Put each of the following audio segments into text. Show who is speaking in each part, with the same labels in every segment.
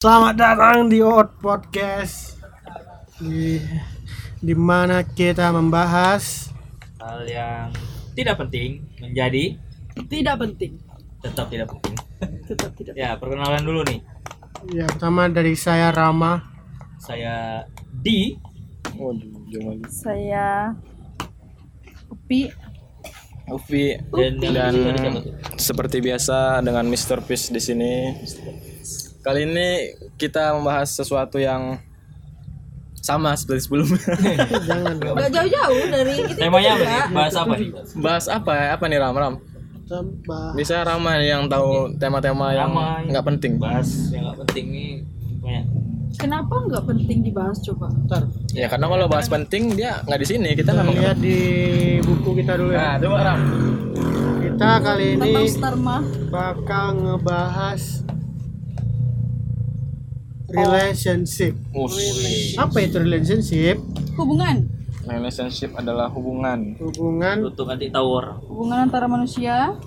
Speaker 1: Selamat datang di Out Podcast. Di di mana kita membahas
Speaker 2: hal yang tidak penting menjadi
Speaker 3: tidak penting
Speaker 2: tetap tidak penting.
Speaker 3: tetap tidak
Speaker 2: Ya, perkenalan dulu nih.
Speaker 1: ya pertama dari saya Rama.
Speaker 2: Saya di
Speaker 3: saya upi
Speaker 4: Ufi
Speaker 2: dan yang
Speaker 4: dan
Speaker 2: kedua dari siapa tuh?
Speaker 4: seperti biasa dengan Mr. Peace di sini. Kali ini kita membahas sesuatu yang sama seperti sebelumnya.
Speaker 1: Jangan
Speaker 3: nggak jauh-jauh dari itu
Speaker 2: Temanya apa nih? Bahas apa nih?
Speaker 4: Bahas apa ya? Apa nih Ram Ram?
Speaker 1: tambah.
Speaker 4: Bisa Rama yang tahu tema-tema yang
Speaker 2: Ramai.
Speaker 4: nggak penting.
Speaker 2: Bahas yang nggak penting nih banyak.
Speaker 3: kenapa nggak penting dibahas coba
Speaker 1: Ntar
Speaker 4: Ya karena kalau bahas penting dia nggak di sini.
Speaker 1: kita
Speaker 4: Kita memang.
Speaker 1: lihat di buku kita dulu ya.
Speaker 4: coba Ram.
Speaker 1: Kita kali ini
Speaker 3: tentang starma
Speaker 1: bakal ngebahas relationship. Apa itu relationship?
Speaker 3: hubungan
Speaker 4: Relationship adalah hubungan.
Speaker 1: Hubungan
Speaker 2: Untuk anti tower
Speaker 3: hubungan antara manusia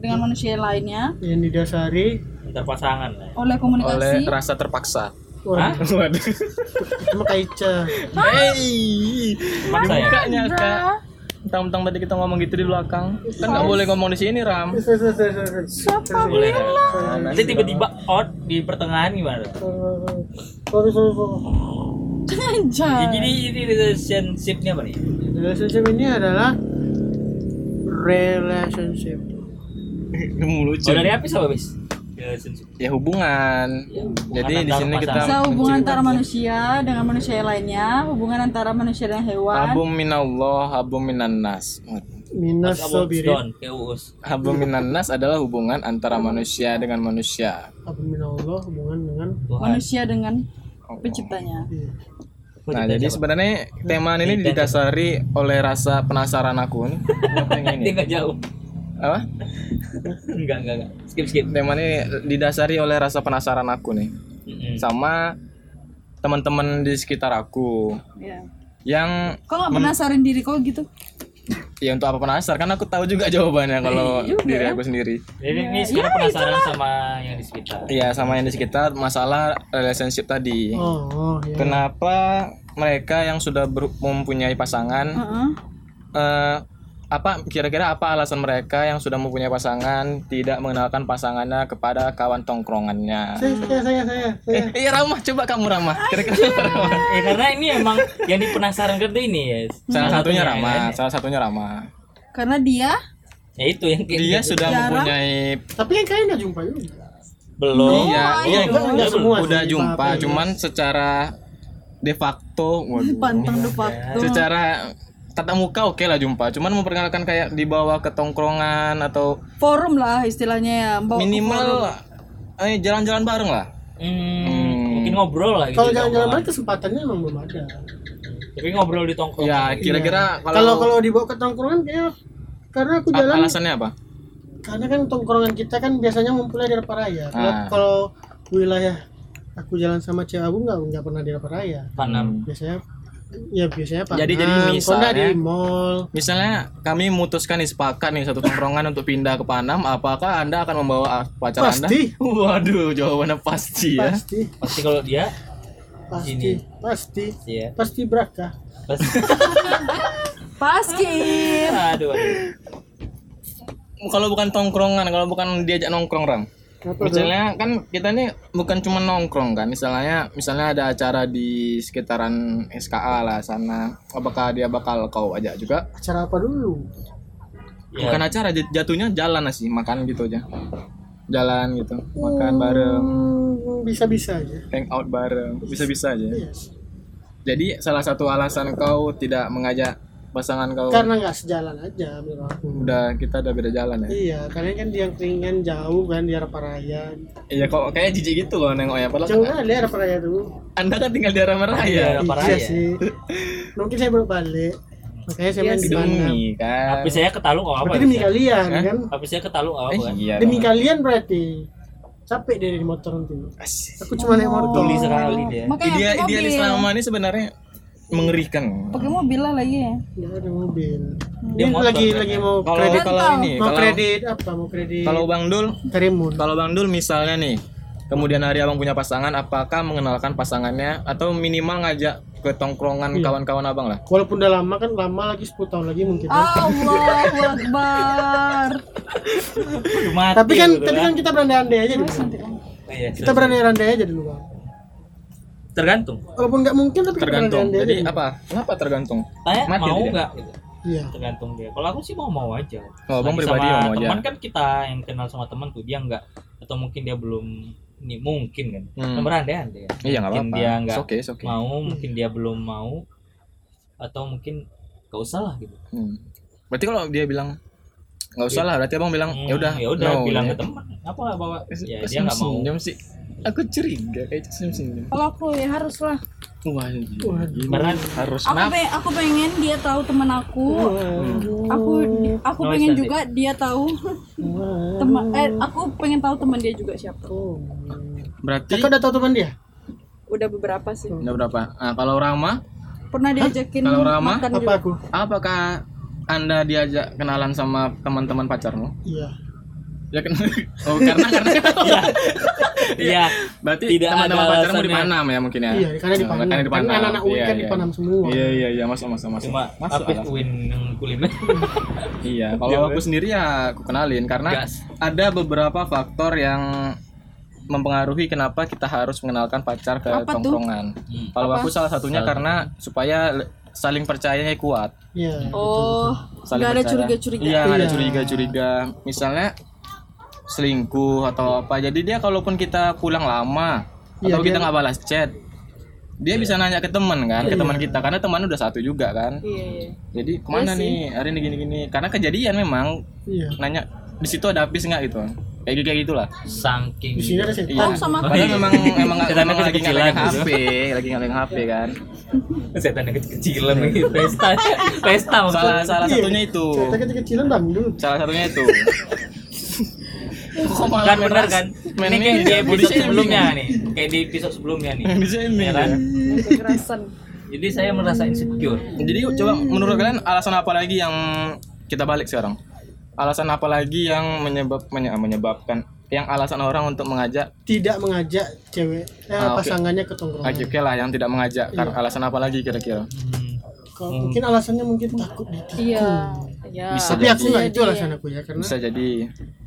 Speaker 3: dengan manusia yang lainnya
Speaker 1: yang didasari
Speaker 2: antar pasangan. lah ya.
Speaker 3: oleh
Speaker 4: Oleh
Speaker 3: komunikasi
Speaker 4: rasa terpaksa.
Speaker 1: Wah,
Speaker 2: Hah?
Speaker 4: Waduh.
Speaker 1: cuma kaica.
Speaker 4: Hey.
Speaker 2: Masa ya?
Speaker 4: Bukanya kak.
Speaker 3: Andra.
Speaker 4: Tentang-tentang tadi kita ngomong gitu di belakang. Kan nggak boleh ngomong di sini Ram.
Speaker 3: siapa
Speaker 2: Boleh.
Speaker 3: bilang
Speaker 2: Nanti tiba-tiba out di pertengahan gimana?
Speaker 1: Ah. Sorry, sorry, sorry.
Speaker 3: aja
Speaker 2: Jadi ini relationship-nya apa nih?
Speaker 1: Relationship ini adalah relationship.
Speaker 4: Lucu.
Speaker 2: Kalau dari habis apa habis? Relationship.
Speaker 4: ya hubungan.
Speaker 2: Ya,
Speaker 4: Jadi
Speaker 2: hubungan
Speaker 4: di
Speaker 2: antar
Speaker 4: sini kita
Speaker 2: pasangan.
Speaker 3: bisa hubungan antara manusia dengan manusia yang lainnya hubungan antara manusia dan hewan
Speaker 4: Habum minallah, habum minannas.
Speaker 1: Minus
Speaker 2: Abus,
Speaker 1: sobiri.
Speaker 2: down, kayak uus.
Speaker 4: Habum minannas adalah hubungan antara manusia dengan manusia.
Speaker 1: Apa min Allah hubungan dengan
Speaker 2: Tuhan.
Speaker 3: manusia dengan penciptanya
Speaker 4: Nah, jadi sebenarnya tema ini didasari oleh rasa penasaran aku nih. Apa yang ini?
Speaker 2: dia nggak jauh.
Speaker 4: Apa?
Speaker 2: Enggak, enggak, enggak. Skip, skip.
Speaker 4: Tema ini didasari oleh rasa penasaran aku nih.
Speaker 2: Mm-mm.
Speaker 4: Sama teman-teman di sekitar aku
Speaker 3: ya
Speaker 4: yang
Speaker 3: kok nggak penasaran diri kok gitu
Speaker 4: ya untuk apa penasar kan aku tahu juga jawabannya kalau diri aku sendiri.
Speaker 2: Jadi ini
Speaker 1: Ya,
Speaker 2: sekarang penasaran sama yang di sekitar. Eh,
Speaker 4: Iya, sama yang di sekitar masalah relationship tadi.
Speaker 1: Oh, oh ya.
Speaker 4: Kenapa mereka yang sudah ber- mempunyai pasangan
Speaker 3: Heeh.
Speaker 4: eh, apa kira-kira apa alasan mereka yang sudah mempunyai pasangan tidak mengenalkan pasangannya kepada kawan tongkrongannya?
Speaker 1: Saya, saya, saya, saya. saya.
Speaker 4: Eh, iya Ramah, coba kamu Ramah. Kira-kira apa, Ramah?
Speaker 2: Ya karena ini emang yang dipenasaran kan tuh ini ya.
Speaker 4: Salah satunya
Speaker 2: yang
Speaker 4: Ramah,
Speaker 2: lain.
Speaker 4: salah satunya Ramah.
Speaker 3: karena dia
Speaker 2: kan? Ya itu yang kayak
Speaker 4: Dia
Speaker 2: gitu.
Speaker 4: sudah
Speaker 3: Jarang.
Speaker 4: mempunyai
Speaker 1: Tapi yang kalian udah jumpa juga.
Speaker 2: belum.
Speaker 4: Iya, iya,
Speaker 1: Oh, enggak, enggak semua sih, ya.
Speaker 4: udah jumpa,
Speaker 1: apa-apa.
Speaker 4: cuman secara de facto waduh.
Speaker 3: pantang de facto
Speaker 4: secara tatap muka oke lah jumpa cuman memperkenalkan kayak dibawa ke tongkrongan atau
Speaker 3: forum lah istilahnya ya bawa ke
Speaker 4: minimal eh jalan-jalan bareng lah
Speaker 2: Hmm, mungkin ngobrol lah gitu.
Speaker 1: Kalau
Speaker 2: di
Speaker 1: jalan-jalan
Speaker 2: tongkrongan.
Speaker 1: bareng kesempatannya emang belum ada.
Speaker 2: Tapi ngobrol di tongkrong.
Speaker 4: ya kira-kira
Speaker 1: iya. Kalau
Speaker 4: kalau
Speaker 1: kalau dibawa ke tongkrongan kayak karena aku
Speaker 4: a-
Speaker 1: jalan
Speaker 4: alasannya apa
Speaker 1: karena kan tongkrongan kita kan biasanya ngumpulnya di Eropa Raya. Kalau-
Speaker 4: Ah.
Speaker 1: Kalau wilayah aku jalan sama cewek aku nggak nggak pernah di Eropa Raya.
Speaker 2: Tanam.
Speaker 1: biasanya ya biasanya Pak
Speaker 4: Jadi- ya. jadi
Speaker 1: Nam,
Speaker 4: misalnya-
Speaker 1: Konda di mall
Speaker 4: misalnya kami memutuskan nih sepakat nih satu tongkrongan untuk pindah ke Panam apakah anda akan membawa a- pacar
Speaker 1: Pasti.
Speaker 4: anda waduh jawabannya pasti ya
Speaker 1: pasti
Speaker 2: Pasti kalau dia
Speaker 1: pasti
Speaker 2: Sini.
Speaker 1: pasti
Speaker 2: ya.
Speaker 1: pasti berkah
Speaker 2: Pasti.
Speaker 3: paski
Speaker 2: Aduh. aduh.
Speaker 4: kalau bukan tongkrongan kalau bukan diajak nongkrong ram
Speaker 1: Kenapa tuh?
Speaker 4: misalnya kan kita nih bukan cuma nongkrong kan misalnya misalnya ada acara di sekitaran SKA lah sana apakah dia bakal kau ajak juga
Speaker 1: acara apa dulu
Speaker 2: Ya.
Speaker 4: bukan acara j- jatuhnya jalan lah sih makan gitu aja jalan gitu makan bareng
Speaker 1: Hmm, bisa bisa aja
Speaker 4: hang out bareng bisa-bisa aja
Speaker 1: Yes.
Speaker 4: jadi salah satu alasan kau tidak mengajak pasangan kau
Speaker 1: karena nggak sejalan aja menurut aku
Speaker 4: udah kita udah beda jalan ya
Speaker 1: iya kalian kan yang keringan jauh kan di Eropa Raya
Speaker 4: iya kok kayak jijik gitu loh nengok
Speaker 1: jauh
Speaker 4: ya padahal
Speaker 1: kan di Eropa Raya dulu
Speaker 4: anda kan tinggal di daerah merah
Speaker 2: Iya.
Speaker 4: ya
Speaker 2: Eropa
Speaker 1: iya
Speaker 2: Raya.
Speaker 1: sih mungkin saya belum balik makanya saya
Speaker 3: Iya
Speaker 1: main di
Speaker 3: sih.
Speaker 1: mana
Speaker 4: demi kan
Speaker 2: Tapi saya ketalung apa?
Speaker 1: berarti
Speaker 2: Tapi
Speaker 1: demi kalian kan
Speaker 2: ya. Tapi saya ketalung apa
Speaker 4: eh,
Speaker 2: kan?
Speaker 4: iya
Speaker 1: demi
Speaker 4: dong.
Speaker 1: kalian berarti capek dari di motor nanti
Speaker 4: Asik.
Speaker 1: aku cuma
Speaker 2: Oh.
Speaker 1: naik motor
Speaker 2: Tuli sekali
Speaker 4: Iya.
Speaker 2: dia.
Speaker 3: makanya
Speaker 4: Idea,
Speaker 3: pakai mobil
Speaker 4: idealis lama ini sebenarnya mengerikan.
Speaker 3: pakai mobil lah lagi ya
Speaker 1: nggak ada mobil
Speaker 2: Dia
Speaker 1: Ini
Speaker 2: motor
Speaker 1: lagi
Speaker 2: kan?
Speaker 1: lagi mau
Speaker 4: Kalau
Speaker 1: kredit
Speaker 4: Iya, kalau ini
Speaker 1: mau
Speaker 4: kalau
Speaker 1: kredit apa mau kredit
Speaker 4: kalau Bang Dul,
Speaker 1: Karimun
Speaker 4: kalau Bang Dul misalnya nih Kemudian hari abang punya pasangan, apakah mengenalkan pasangannya atau minimal ngajak ke tongkrongan
Speaker 2: Iya.
Speaker 4: kawan-kawan abang lah?
Speaker 1: Walaupun udah lama kan lama lagi 10 tahun lagi mungkin.
Speaker 3: Oh.
Speaker 1: ya.
Speaker 3: Allahu Akbar.
Speaker 2: Aduh, mati
Speaker 1: Tapi kan
Speaker 4: Iya,
Speaker 2: gitu
Speaker 1: tapi
Speaker 2: lah.
Speaker 1: kan kita berandai-andai aja dulu.
Speaker 3: Terus nanti om.
Speaker 2: Oh, iya,
Speaker 1: Kita
Speaker 2: sorry.
Speaker 1: berandai-andai aja dulu, Bang.
Speaker 2: tergantung
Speaker 1: Walaupun nggak mungkin tapi kita
Speaker 4: Tergantung.
Speaker 1: berandai-andai
Speaker 4: Jadi
Speaker 1: aja. dulu.
Speaker 4: apa? Kenapa tergantung?
Speaker 2: tanya
Speaker 4: Mati
Speaker 2: mau
Speaker 4: tadi dia.
Speaker 2: nggak gitu.
Speaker 1: Iya.
Speaker 2: tergantung dia kalau aku sih mau mau aja
Speaker 4: Oh, abang
Speaker 2: Lagi
Speaker 4: pribadi
Speaker 2: sama
Speaker 4: mau-mau aja.
Speaker 2: teman kan kita yang kenal sama teman tuh dia nggak atau mungkin dia belum ini mungkin kan
Speaker 4: Hmm.
Speaker 2: nomor anda anda ya
Speaker 4: Iya nggak
Speaker 2: Mungkin
Speaker 4: apa-apa.
Speaker 2: dia
Speaker 4: It's
Speaker 2: nggak
Speaker 4: okay, it's okay.
Speaker 2: mau mungkin dia belum mau atau mungkin gak usah lah gitu
Speaker 4: Hmm. Berarti kalau dia bilang nggak usah lah, berarti abang bilang
Speaker 2: Hmm,
Speaker 4: ya udah.
Speaker 2: ya udah
Speaker 4: no,
Speaker 2: bilang
Speaker 4: ya.
Speaker 2: ke teman apa lah bawa ya
Speaker 4: Kok
Speaker 2: dia nggak mau
Speaker 4: senyum sih. Aku curiga kayak senyum-senyum.
Speaker 3: Kalau aku ya harus lah.
Speaker 4: Wah, anjing.
Speaker 1: Waduh.
Speaker 2: karena
Speaker 4: harus
Speaker 3: Aku,
Speaker 4: naf.
Speaker 3: pe- aku pengen dia tahu teman
Speaker 4: Oh.
Speaker 3: aku.
Speaker 4: Hmm.
Speaker 3: Aku aku
Speaker 2: Noise
Speaker 3: pengen
Speaker 2: nanti.
Speaker 3: juga dia tahu teman. Eh aku pengen tahu teman dia juga siapa.
Speaker 4: Berarti
Speaker 1: Kakak udah tahu teman dia?
Speaker 3: Udah beberapa sih.
Speaker 4: udah berapa? Nah, kalau Rama,
Speaker 3: Pernah diajakin
Speaker 4: Kalau Rama,
Speaker 3: makan
Speaker 1: Apa
Speaker 3: juga.
Speaker 1: aku?
Speaker 4: apakah Anda diajak kenalan sama teman-teman pacarmu?
Speaker 1: Iya.
Speaker 4: Ya kan. Oh, karena karena
Speaker 2: ya
Speaker 4: berarti
Speaker 2: Iya. Tidak
Speaker 4: teman-teman
Speaker 2: ada
Speaker 4: pacarmu di
Speaker 2: alasannya.
Speaker 4: Panam ya mungkin ya.
Speaker 1: Iya, karena di Panam.
Speaker 4: Karena di
Speaker 1: Kan
Speaker 4: Panam.
Speaker 1: anak-anak UI
Speaker 4: Iya,
Speaker 1: kan di
Speaker 4: iya.
Speaker 1: Panam semua.
Speaker 4: Iya iya iya masuk masuk masuk.
Speaker 2: cuma
Speaker 4: masuk
Speaker 2: apa
Speaker 4: alas.
Speaker 2: win yang kulitnya
Speaker 4: Iya, kalau aku sendiri ya aku kenalin karena
Speaker 2: Gas.
Speaker 4: ada beberapa faktor yang mempengaruhi kenapa kita harus mengenalkan pacar ke
Speaker 3: Apa tuh?
Speaker 4: tongkrongan.
Speaker 2: Hmm.
Speaker 4: Kalau
Speaker 3: Apa?
Speaker 4: aku salah satunya karena supaya le- saling percayanya kuat.
Speaker 1: Iya.
Speaker 3: Oh,
Speaker 4: Saling
Speaker 3: nggak ada
Speaker 4: percaya.
Speaker 3: curiga-curiga.
Speaker 4: Iya, nggak ada
Speaker 1: Iya.
Speaker 4: curiga-curiga. Misalnya selingkuh atau apa. Jadi dia kalaupun kita pulang lama
Speaker 1: Iya,
Speaker 4: atau kita
Speaker 1: dia- Iya.
Speaker 4: nggak balas chat, dia bisa nanya ke teman kan, ke teman kita karena teman udah satu juga kan.
Speaker 3: Iya, iya.
Speaker 4: Jadi kemana nih hari ini gini-gini? Karena kejadian memang
Speaker 1: Iya.
Speaker 4: nanya di situ ada habis nggak gitu? Kayak gitu- kayak gitulah.
Speaker 2: saking
Speaker 1: Di sini ada setan.
Speaker 4: Iya.
Speaker 3: Oh, sama aku.
Speaker 4: Padahal memang emang nggak
Speaker 2: Setan
Speaker 4: memang
Speaker 2: aku
Speaker 4: lagi nggak
Speaker 2: kekecilan
Speaker 4: pegang HP, lagi nggak pegang HP kan.
Speaker 2: setan yang kecil-kecilan gitu pesta pesta
Speaker 4: Salah
Speaker 2: maksudnya
Speaker 4: salah
Speaker 1: Iya.
Speaker 4: satunya itu.
Speaker 1: Cerita kecil-kecilan bang dulu.
Speaker 4: Salah satunya itu. Kok
Speaker 2: kan benar kan
Speaker 4: Main
Speaker 2: ini kayak di
Speaker 4: ini
Speaker 2: episode sebelumnya nih kayak di episode sebelumnya nih
Speaker 4: Di sini.
Speaker 2: Ya kan?
Speaker 3: Kekerasan.
Speaker 2: jadi saya merasa insecure
Speaker 4: Jadi coba menurut kalian alasan apa lagi yang kita balik sekarang? Alasan apa lagi yang menyebab menye- ah, menyebabkan yang alasan orang untuk mengajak
Speaker 1: Tidak mengajak cewek eh,
Speaker 4: Ah, oke.
Speaker 1: pasangannya ke
Speaker 4: Oke
Speaker 1: tongkrongan.
Speaker 4: oke lah yang tidak mengajak karena alasan apa lagi kira-kira?
Speaker 2: Hmm.
Speaker 1: Kalau mungkin alasannya mungkin takut ditikung.
Speaker 3: Iya. Iya.
Speaker 4: Hmm. Bisa.
Speaker 1: Tapi aku nggak
Speaker 3: Jadi-
Speaker 1: itu alasan aku ya karena
Speaker 4: Bisa jadi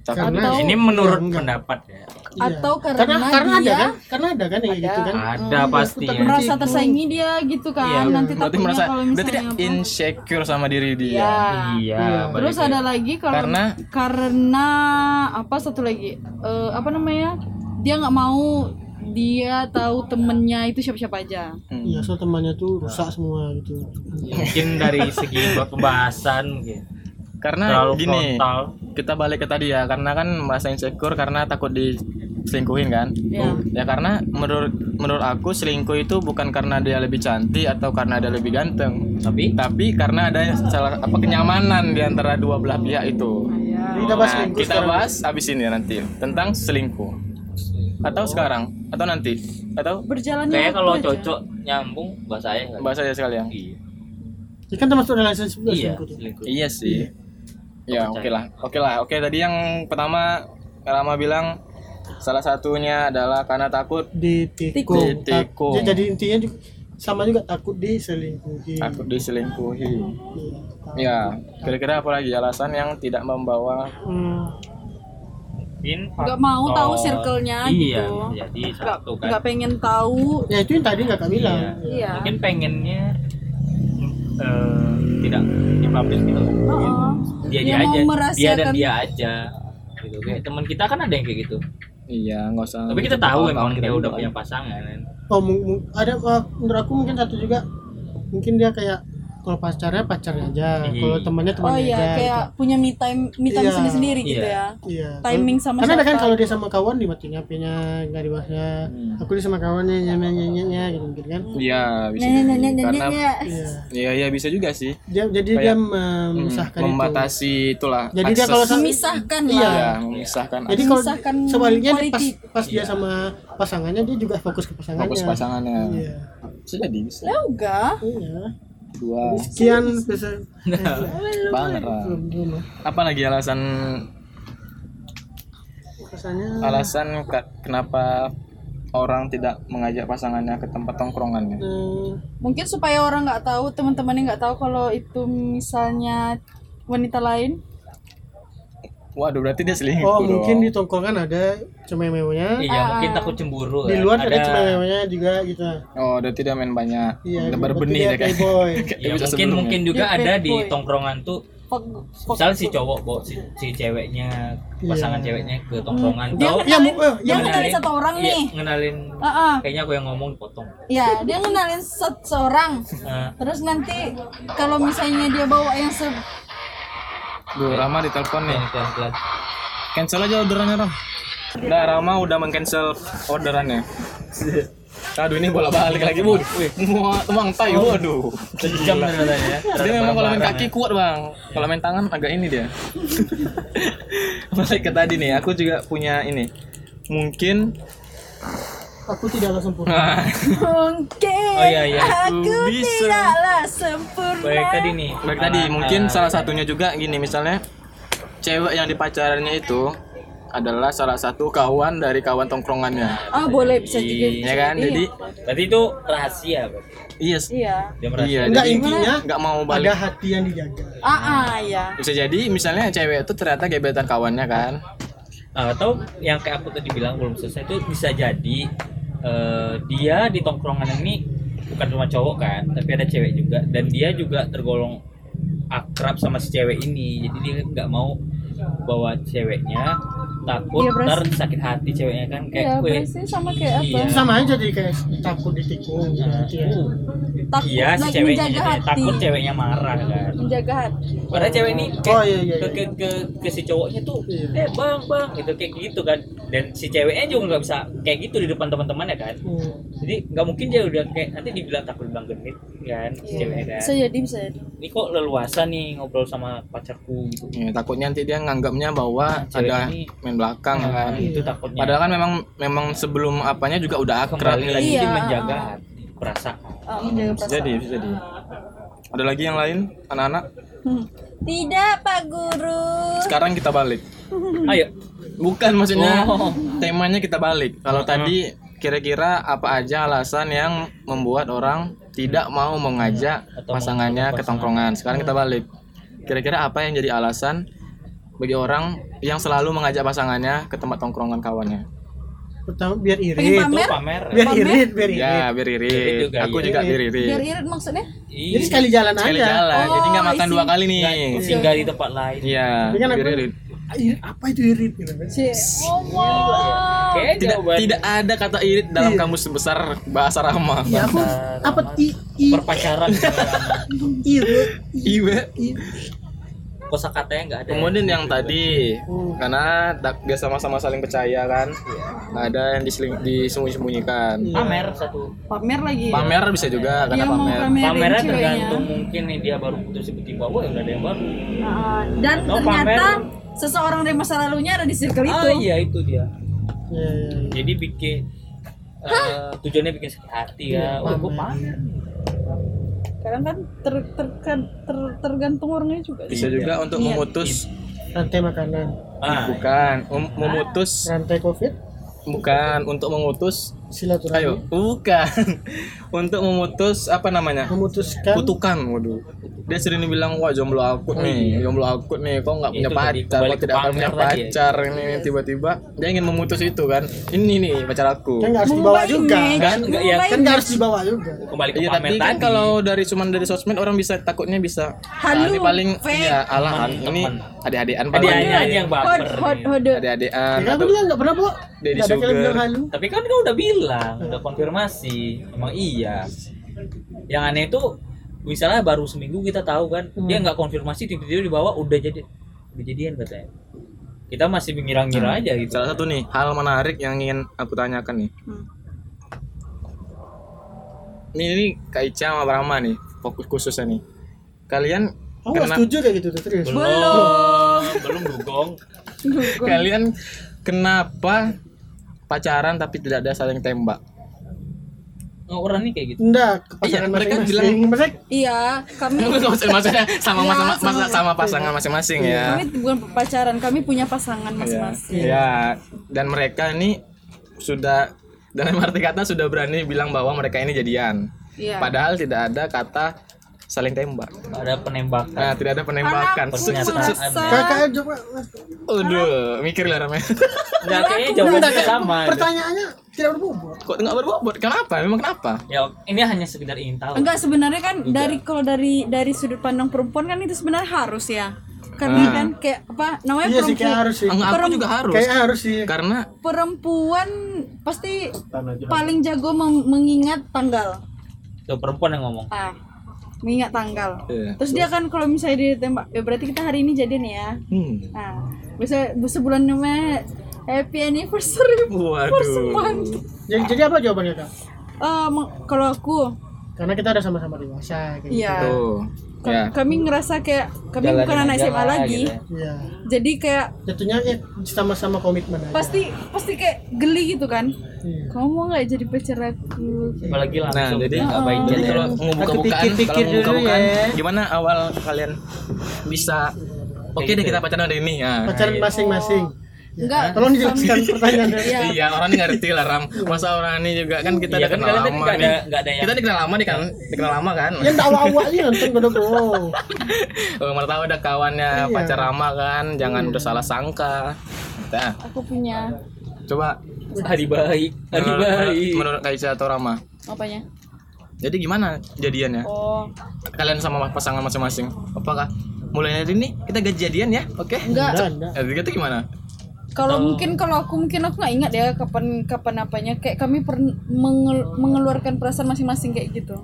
Speaker 4: tapi
Speaker 1: karena
Speaker 3: Atau-
Speaker 2: ini menurut
Speaker 1: Enggak.
Speaker 2: pendapat ya
Speaker 1: Iya.
Speaker 3: Atau karena
Speaker 1: karena ada
Speaker 3: dia-
Speaker 1: kan karena ada kan yang kayak gitu kan
Speaker 2: ada
Speaker 1: takut
Speaker 2: pasti ya.
Speaker 1: merasa-
Speaker 3: merasa tersaingi dia gitu
Speaker 2: Iya,
Speaker 3: kan nanti
Speaker 4: berarti
Speaker 3: takutnya
Speaker 4: merasa
Speaker 3: kalau
Speaker 4: berarti dia
Speaker 3: misalnya apa-
Speaker 4: insecure sama diri dia.
Speaker 3: Iya.
Speaker 2: iya balik
Speaker 3: terus
Speaker 2: lagi.
Speaker 3: ada lagi kalau karena,
Speaker 4: Karena-
Speaker 3: apa satu lagi eh, apa namanya dia nggak mau dia tahu temennya itu siapa siapa aja
Speaker 4: Hmm.
Speaker 1: iya so temannya tuh rusak semua gitu
Speaker 2: mungkin dari segi buat pembahasan mungkin
Speaker 4: Karena
Speaker 2: terlalu
Speaker 4: Nah, gini,
Speaker 2: frontal
Speaker 4: kita balik ke tadi ya, karena kan merasa insecure karena takut diselingkuhin kan?
Speaker 3: Iya.
Speaker 2: Oh.
Speaker 4: Ya karena menurut menurut aku selingkuh itu bukan karena dia lebih cantik atau karena dia lebih ganteng,
Speaker 2: tapi
Speaker 4: tapi karena ada salah apa kenyamanan di antara dua belah pihak itu.
Speaker 3: Iya.
Speaker 1: Jadi kita bahas
Speaker 4: Nah,
Speaker 1: minggu
Speaker 4: kita
Speaker 1: sekarang.
Speaker 4: bahas habis ini nanti tentang selingkuh. Atau sekarang, atau nanti, atau
Speaker 3: berjalannya
Speaker 2: kayak
Speaker 3: waktu
Speaker 2: kalau
Speaker 3: aja.
Speaker 2: cocok nyambung bahasa saya nggak
Speaker 4: bahas aja sekalian.
Speaker 2: iya
Speaker 1: Ya kan termasuk dalam alasan sebelas
Speaker 2: iya
Speaker 1: selingkuh tuh.
Speaker 2: selingkuh.
Speaker 4: Iya sih. Ya
Speaker 2: Aku
Speaker 4: oke
Speaker 2: percaya.
Speaker 4: lah, oke lah, oke tadi yang pertama Rama bilang salah satunya adalah karena takut
Speaker 1: ditikung
Speaker 4: Ditikung.
Speaker 1: Tak- jadi intinya juga sama juga takut diselingkuhi
Speaker 4: takut diselingkuhi.
Speaker 1: Iya.
Speaker 4: Ya, kira-kira apa lagi alasan yang tidak membawa
Speaker 1: Hmm.
Speaker 2: mungkin
Speaker 3: Nggak mau tahu
Speaker 2: faktor-
Speaker 3: circle-nya
Speaker 2: iya
Speaker 3: gitu.
Speaker 2: jadi
Speaker 3: nggak
Speaker 2: satu kan
Speaker 3: nggak pengen tahu
Speaker 1: ya itu yang tadi kakak bilang
Speaker 2: Iya.
Speaker 1: Iya.
Speaker 3: iya
Speaker 2: mungkin pengennya eh, tidak dipublish gitu kan
Speaker 3: Heeh.
Speaker 2: dia
Speaker 3: Dia
Speaker 2: dia
Speaker 3: mau
Speaker 2: aja dia
Speaker 3: merahasiakan. kan?
Speaker 2: dan dia aja gitu kayak teman kita kan ada yang kayak gitu
Speaker 4: Iya, nggak usah.
Speaker 2: tapi kita tahu emang dia
Speaker 4: Kawan-kawan juga
Speaker 2: udah
Speaker 4: kan.
Speaker 2: punya pasangan kan
Speaker 3: Hmm.
Speaker 1: oh mung- mung- ada eh, menurut aku mungkin satu juga mungkin dia kayak kalau pacarnya pacarnya aja
Speaker 2: Iya.
Speaker 1: kalau temannya
Speaker 3: oh
Speaker 1: temannya
Speaker 3: iya
Speaker 1: aja
Speaker 3: kayak
Speaker 1: gitu.
Speaker 3: punya me time me time
Speaker 1: Iya.
Speaker 3: sendiri sendiri gitu
Speaker 2: Iya.
Speaker 3: ya
Speaker 1: Iya.
Speaker 3: timing sama
Speaker 1: karena ada kan
Speaker 3: siapa.
Speaker 1: kalau dia sama kawan dimatiin HP-nya nggak dibahasnya
Speaker 4: Hmm.
Speaker 1: aku dia sama kawannya nyanyi nyanyi gitu mungkin kan
Speaker 3: Hmm.
Speaker 4: Iya, bisa.
Speaker 3: Nyanyi,
Speaker 4: jadi.
Speaker 3: nyanyi, nyanyi,
Speaker 4: Karena
Speaker 3: nyanyi.
Speaker 1: Iya.
Speaker 4: Iya, iya bisa juga sih.
Speaker 1: dia jadi dia
Speaker 4: Kayak, Hmm,
Speaker 1: memisahkan itu
Speaker 4: membatasi itulah.
Speaker 1: Jadi dia
Speaker 4: akses.
Speaker 1: kalau sama-
Speaker 3: memisahkan
Speaker 1: Iya.
Speaker 3: lah
Speaker 4: Iya, memisahkan
Speaker 1: jadi
Speaker 4: akses
Speaker 1: kalau
Speaker 3: memisahkan
Speaker 1: sebaliknya dia pas
Speaker 3: quality.
Speaker 1: pas dia sama pasangannya dia juga fokus ke pasangannya
Speaker 4: Iya. fokus pasangannya.
Speaker 1: iya
Speaker 4: Bisa jadi bisa.
Speaker 3: ya enggak
Speaker 1: iya
Speaker 4: Dua
Speaker 1: sekian pesan
Speaker 4: banget. lah.
Speaker 1: belum belum
Speaker 4: Apa lagi alasan
Speaker 1: alasannya
Speaker 4: alasan ka- kenapa orang tidak mengajak pasangannya ke tempat tongkrongannya
Speaker 1: eh,
Speaker 3: Mungkin supaya orang nggak tahu, teman-temannya nggak tahu kalau itu misalnya wanita lain.
Speaker 4: waduh berarti dia selingkuh
Speaker 1: oh
Speaker 4: dong.
Speaker 1: mungkin di tongkrongan ada cemewenya
Speaker 3: Ah.
Speaker 2: iya mungkin takut cemburu
Speaker 1: di
Speaker 2: kan.
Speaker 1: luar ada cemewenya juga gitu
Speaker 4: oh berarti dia main banyak
Speaker 1: iya berarti
Speaker 4: lebar benih
Speaker 1: dia
Speaker 4: dia kayak
Speaker 1: playboy
Speaker 2: Iya,
Speaker 4: Episode
Speaker 2: mungkin
Speaker 4: sebelumnya.
Speaker 2: mungkin juga
Speaker 3: Dia
Speaker 2: ada di
Speaker 3: playboy.
Speaker 2: tongkrongan tuh
Speaker 3: Fuck- fuck-
Speaker 2: misal si cowok bawa si, si ceweknya pasangan
Speaker 1: Iya.
Speaker 2: ceweknya ke tongkrongan
Speaker 3: Dia
Speaker 2: tau
Speaker 1: ya mu- eh, ya
Speaker 3: Dia ngenalin satu orang
Speaker 2: Oh, iya,
Speaker 3: nih.
Speaker 2: ngenalin
Speaker 3: Ah, ah.
Speaker 2: kayaknya aku yang ngomong potong
Speaker 3: Ya, dia ngenalin se- seorang.
Speaker 2: Eh,
Speaker 3: Terus nanti kalau misalnya dia bawa yang se
Speaker 4: duh Rama ditelepon nih
Speaker 2: yang pelan-pelan
Speaker 4: cancel aja orderannya Ram Nah, Rama udah mengcancel orderannya. Aduh ini bola balik lagi, Bud. Wah, Emang tai, waduh.
Speaker 2: sejam ternyata ya
Speaker 4: Oh. Dia memang kalau main kaki kuat, Bang. Kalau main tangan agak ini dia. Balik ke tadi nih, aku juga punya ini. Mungkin
Speaker 1: aku tidaklah sempurna
Speaker 4: Nah,
Speaker 3: mungkin
Speaker 2: Oh, iya, iya.
Speaker 3: aku
Speaker 4: Bisa.
Speaker 3: tidaklah sempurna.
Speaker 2: baik tadi nih Ah,
Speaker 4: baik tadi
Speaker 2: anak-
Speaker 4: mungkin
Speaker 2: anak-
Speaker 4: salah satunya juga gini misalnya cewek yang dipacarannya itu adalah salah satu kawan dari kawan tongkrongannya.
Speaker 3: Ah, boleh bisa
Speaker 2: Iya,
Speaker 3: juga.
Speaker 4: Ya kan? Jadi
Speaker 2: berarti itu rahasia berarti.
Speaker 4: iya
Speaker 3: Iya.
Speaker 2: dia
Speaker 4: iya
Speaker 2: merahsia
Speaker 1: enggak
Speaker 4: jadi
Speaker 1: intinya
Speaker 4: nggak mau balik
Speaker 1: ada hati yang dijaga
Speaker 3: Ah, ah, ya.
Speaker 4: bisa jadi misalnya cewek itu ternyata gebetan kawannya kan
Speaker 2: Ah, atau yang kayak aku tadi bilang belum selesai itu bisa jadi eh, dia di tongkrongan ini bukan cuma cowok kan tapi ada cewek juga dan dia juga tergolong akrab sama si cewek ini jadi dia nggak mau bawa ceweknya takut
Speaker 3: Iya, Bras.
Speaker 2: ntar sakit hati ceweknya kan
Speaker 3: Iya,
Speaker 2: kayak "Weh,
Speaker 3: berarti sama kayak apa?
Speaker 2: Iya.
Speaker 1: sama aja jadi kayak takut ditikung gitu ya.
Speaker 2: uh,
Speaker 3: Takut
Speaker 2: iya si
Speaker 3: lagi
Speaker 2: ceweknya
Speaker 3: menjaga
Speaker 2: jadinya.
Speaker 3: hati.
Speaker 2: takut ya. ceweknya marah kan
Speaker 3: Menjaga hati.
Speaker 2: Padahal cewek ini kayak
Speaker 1: Oh, iya, iya,
Speaker 2: ke, ke,
Speaker 1: iya.
Speaker 2: ke, ke si cowoknya tuh,
Speaker 1: Iya.
Speaker 2: eh bang bang gitu kayak gitu kan. Dan si ceweknya juga nggak bisa kayak gitu di depan teman-temannya kan.
Speaker 1: Hmm.
Speaker 2: Jadi nggak mungkin dia udah kayak nanti dibilang takut bilang genit kan si ceweknya kan.
Speaker 3: Iya. Bisa jadi, bisa jadi. Oh,
Speaker 2: Ini kok leluasa nih ngobrol sama pacarku gitu.
Speaker 4: Ya, takutnya nanti dia nganggapnya bahwa
Speaker 2: Cewek
Speaker 4: ada
Speaker 2: ini-
Speaker 4: main belakang kan
Speaker 2: Nah, itu takutnya. Ah,
Speaker 4: padahal kan memang memang sebelum apanya juga udah akrab
Speaker 2: kembali
Speaker 4: nih.
Speaker 2: lagi dia
Speaker 3: Iya.
Speaker 2: menjaga hati, perasaan.
Speaker 3: Ah, menjaga
Speaker 4: bisa
Speaker 3: perasaan.
Speaker 4: jadi bisa jadi ada lagi yang lain anak-anak
Speaker 3: Hmm. Tidak, Pak Guru.
Speaker 4: sekarang kita balik
Speaker 2: Ayo.
Speaker 4: bukan maksudnya
Speaker 2: Oh.
Speaker 4: temanya kita balik kalau tadi kira-kira apa aja alasan yang membuat orang tidak mau mengajak
Speaker 2: Iya, Atau mau
Speaker 4: pasangannya
Speaker 2: mengajak
Speaker 4: ke tongkrongan sekarang kita balik kira-kira apa yang jadi alasan bagi orang yang selalu mengajak pasangannya ke tempat tongkrongan kawannya
Speaker 1: pertama biar
Speaker 3: Pengen
Speaker 1: irit
Speaker 2: Itu
Speaker 3: pamer?
Speaker 2: pamer.
Speaker 1: biar
Speaker 3: Pamer?
Speaker 1: irit biar irit
Speaker 4: ya biar
Speaker 2: Irit
Speaker 4: irit
Speaker 2: juga,
Speaker 4: aku
Speaker 2: iya.
Speaker 4: juga biar
Speaker 3: Biar
Speaker 4: irit
Speaker 3: irit maksudnya?
Speaker 1: jadi sekali jalan
Speaker 4: sekali
Speaker 1: aja
Speaker 4: jalan
Speaker 3: Oh,
Speaker 4: jadi nggak
Speaker 3: I
Speaker 4: makan
Speaker 3: see.
Speaker 4: dua kali nih
Speaker 3: Iya.
Speaker 2: singgah di tempat lain.
Speaker 4: iya
Speaker 1: Tapi kan
Speaker 4: biar
Speaker 1: aku-
Speaker 4: irit
Speaker 1: Irit, apa itu irit gitu kan
Speaker 3: Cie. Allah.
Speaker 2: Kayaknya
Speaker 4: tidak
Speaker 2: jawaban-
Speaker 4: tidak ada kata irit dalam
Speaker 1: Iya.
Speaker 4: kamus besar bahasa Rama
Speaker 1: ya
Speaker 3: Iya.
Speaker 1: aku
Speaker 2: Bentar,
Speaker 1: apa
Speaker 2: Mas.
Speaker 1: i i
Speaker 2: perpacaran
Speaker 1: Iya. irit
Speaker 4: Iwe
Speaker 1: i-
Speaker 2: kosa katanya nggak ada
Speaker 4: Kemudian yang tadi
Speaker 1: Hmm.
Speaker 4: karena tak- biar sama-sama saling percaya kan,
Speaker 2: Iya.
Speaker 4: nggak ada yang diseling- disembunyi-sembunyikan.
Speaker 2: pamer satu
Speaker 3: Pamer
Speaker 2: Iya.
Speaker 3: lagi.
Speaker 4: Pamer bisa juga
Speaker 3: Dia
Speaker 4: karena
Speaker 3: mau
Speaker 4: pamer.
Speaker 3: pamerin
Speaker 2: pamernya
Speaker 3: ceweknya.
Speaker 2: tergantung mungkin nih dia baru putus tiba-tiba wah udah ada yang baru
Speaker 3: Ah, dan
Speaker 2: Atau
Speaker 3: ternyata
Speaker 2: pamer.
Speaker 3: seseorang dari masa lalunya ada di circle itu.
Speaker 2: ah iya itu dia
Speaker 1: ya, ya, ya.
Speaker 2: jadi bikin eh, tujuannya bikin sakit hati ya wah gue pamer
Speaker 3: Kadang kan ter, ter, ter- ter- tergantung orangnya juga.
Speaker 4: Bisa juga untuk
Speaker 3: Iya.
Speaker 4: memutus
Speaker 1: rantai makanan
Speaker 2: ah
Speaker 4: bukan mem- memutus
Speaker 1: rantai covid
Speaker 4: bukan untuk mengutus
Speaker 1: silaturahmi
Speaker 4: ayo bukan untuk memutus apa namanya
Speaker 2: Kan?
Speaker 1: memutuskan
Speaker 4: kutukan waduh dia sering bilang wah jomblo akut nih jomblo akut nih kok nggak punya
Speaker 2: Iya. Itu tadi,
Speaker 4: pacar
Speaker 2: kembali
Speaker 4: kok tidak
Speaker 2: ke
Speaker 4: akan punya
Speaker 2: pamer tadi ya.
Speaker 4: pacar ini tiba-tiba dia ingin memutus itu kan ini nih pacar aku
Speaker 1: kan nggak harus dibawa
Speaker 3: Mumbai
Speaker 1: juga
Speaker 3: Image,
Speaker 4: Kan,
Speaker 2: enggak, ya,
Speaker 3: Mumbai
Speaker 1: kan nggak harus dibawa juga
Speaker 2: kembali ke
Speaker 4: Iya
Speaker 2: pamer
Speaker 4: tapi
Speaker 2: tadi
Speaker 4: kan kalau dari cuman dari sosmed orang bisa takutnya bisa
Speaker 3: Halu,
Speaker 4: ah, ini paling
Speaker 3: fake.
Speaker 4: iya alahan
Speaker 2: Temen,
Speaker 4: ini
Speaker 2: temen.
Speaker 4: adik-adikan paling
Speaker 3: Iya,
Speaker 2: Hadiahnya aja yang
Speaker 3: Hot,
Speaker 2: baper
Speaker 3: hot,
Speaker 2: nih.
Speaker 3: hot.
Speaker 1: ya
Speaker 4: adik-adikan
Speaker 1: kan aku
Speaker 4: atau-
Speaker 1: bilang nggak pernah bawa
Speaker 4: Nah, Daddy
Speaker 1: nggak ada kali
Speaker 4: sugar.
Speaker 1: bilang halu
Speaker 2: tapi kan kau udah bilang udah konfirmasi emang iya yang aneh itu misalnya baru seminggu kita tahu kan dia nggak konfirmasi tiba-tiba dibawa udah jadi udah jadian katanya kita masih mengira-ngira aja gitu
Speaker 4: Hmm. salah satu nih hal menarik yang ingin aku tanyakan nih
Speaker 3: Hmm.
Speaker 4: ini, ini Kak Ica sama Brahma nih fokus khususnya nih kalian
Speaker 1: kamu nggak
Speaker 4: kena-
Speaker 1: setuju kayak gitu tuh serius
Speaker 2: belum belum dugong
Speaker 4: kalian kenapa pacaran tapi tidak ada saling tembak
Speaker 2: orang nih kayak gitu
Speaker 1: Enggak, ke pasangan
Speaker 4: Iya, mereka
Speaker 1: masing-masing. Maksudnya
Speaker 3: Iya, kami
Speaker 4: Maksud- Maksudnya sama
Speaker 3: Ya,
Speaker 4: mas- mas-
Speaker 3: sama-
Speaker 4: mas- sama pasangan masing-masing
Speaker 3: kami
Speaker 4: ya.
Speaker 3: bukan pacaran, kami punya pasangan
Speaker 4: Iya.
Speaker 3: masing-masing.
Speaker 4: Ya, dan mereka ini sudah dalam arti kata sudah berani bilang bahwa mereka ini jadian.
Speaker 3: Iya.
Speaker 4: Padahal tidak ada kata saling tembak.
Speaker 2: ada penembakan
Speaker 4: Nah, tidak ada penembakan.
Speaker 3: Anakku
Speaker 4: Sut, sut, sut.
Speaker 3: masa-
Speaker 1: kakaknya coba
Speaker 4: Aduh, mikir lah Rame.
Speaker 2: nah kayaknya jawabannya sama gitu.
Speaker 1: pertanyaannya tidak berbobot.
Speaker 4: Kok nggak berbobot? Kenapa? Memang kenapa?
Speaker 2: ya ini hanya sekedar ingin tahu
Speaker 3: Enggak sebenarnya kan dari kalau dari dari sudut pandang perempuan kan itu sebenarnya harus ya.
Speaker 4: Ah.
Speaker 3: Karena kan kayak apa namanya
Speaker 1: Iya sih
Speaker 3: perempuan
Speaker 1: kayak harus sih.
Speaker 4: Enggak, aku
Speaker 3: Perem-
Speaker 4: juga harus.
Speaker 1: Kayak harus sih.
Speaker 4: Karena
Speaker 3: perempuan pasti paling jago mem- mengingat tanggal.
Speaker 2: tuh perempuan yang ngomong
Speaker 3: Ah, mengingat tanggal.
Speaker 4: Iya.
Speaker 3: Terus dia kan kalau misalnya ditembak, ya berarti kita hari ini jadian ya.
Speaker 4: hmm.
Speaker 3: Nah, bisa sebulan namanya happy anniversary
Speaker 4: Waduh.
Speaker 3: month.
Speaker 1: Jadi, jadi apa jawabannya kak?
Speaker 3: Eh, meng- kalau aku,
Speaker 1: Karena kita ada sama-sama dewasa. kayak gitu.
Speaker 3: ya
Speaker 4: Tuh.
Speaker 3: ka-
Speaker 4: Ya.
Speaker 3: kami ngerasa kayak kami bukan anak SMA lagi.
Speaker 2: Gitu
Speaker 4: gitu
Speaker 2: ya.
Speaker 1: Iya.
Speaker 3: Jadi kayak
Speaker 1: Jatuhnya ya, sama-sama komitmen aja.
Speaker 3: pasti pasti kayak geli gitu kan.
Speaker 1: Iya.
Speaker 3: Kamu mau nggak jadi pacar aku?
Speaker 2: apalagi
Speaker 4: Nah,
Speaker 2: langsung
Speaker 3: Oh.
Speaker 4: jadi
Speaker 2: nggak baik
Speaker 4: jadi
Speaker 2: jadi
Speaker 4: kalau
Speaker 1: Aku
Speaker 4: ngebuka-bukaan,
Speaker 1: pikir-pikir
Speaker 4: kalau ngebuka-bukaan,
Speaker 1: dulu ya.
Speaker 4: gimana awal kalian bisa Oke deh kita pacaran hari ini. Ya.
Speaker 1: Pacaran masing-masing.
Speaker 3: Enggak.
Speaker 1: Ya. Tolong dijelaskan pertanyaannya.
Speaker 3: Iya.
Speaker 4: Iya, orang ini ngerti lah Ram. Masa orang ini juga kan kita
Speaker 2: Iya,
Speaker 4: udah
Speaker 2: kan
Speaker 4: kenal
Speaker 2: kalian
Speaker 4: lama
Speaker 2: nggak ada
Speaker 4: nih.
Speaker 2: nggak ada yang
Speaker 4: Kita dikenal lama nih kan, dikenal lama kan.
Speaker 1: Ya enggak awak-awaknya nonton gue dong.
Speaker 4: Oh, mana tahu ada kawannya pacar lama kan, jangan udah salah sangka. Nah,
Speaker 3: Aku punya
Speaker 4: coba
Speaker 2: hari baik hari
Speaker 4: menurut,
Speaker 2: baik
Speaker 4: Nah, menurut Kaisa atau Rama.
Speaker 3: apanya?
Speaker 4: Jadi gimana jadiannya?
Speaker 3: Oh,
Speaker 4: Kalian sama pasangan masing-masing. Apakah mulai dari ini kita gak jadian ya? Oke.
Speaker 3: enggak.
Speaker 1: Enggak, enggak.
Speaker 4: Jadi itu gimana?
Speaker 3: Kalau mungkin kalau aku mungkin aku nggak ingat ya kapan kapan apanya kayak kami pern- mengel- mengeluarkan perasaan masing-masing kayak gitu.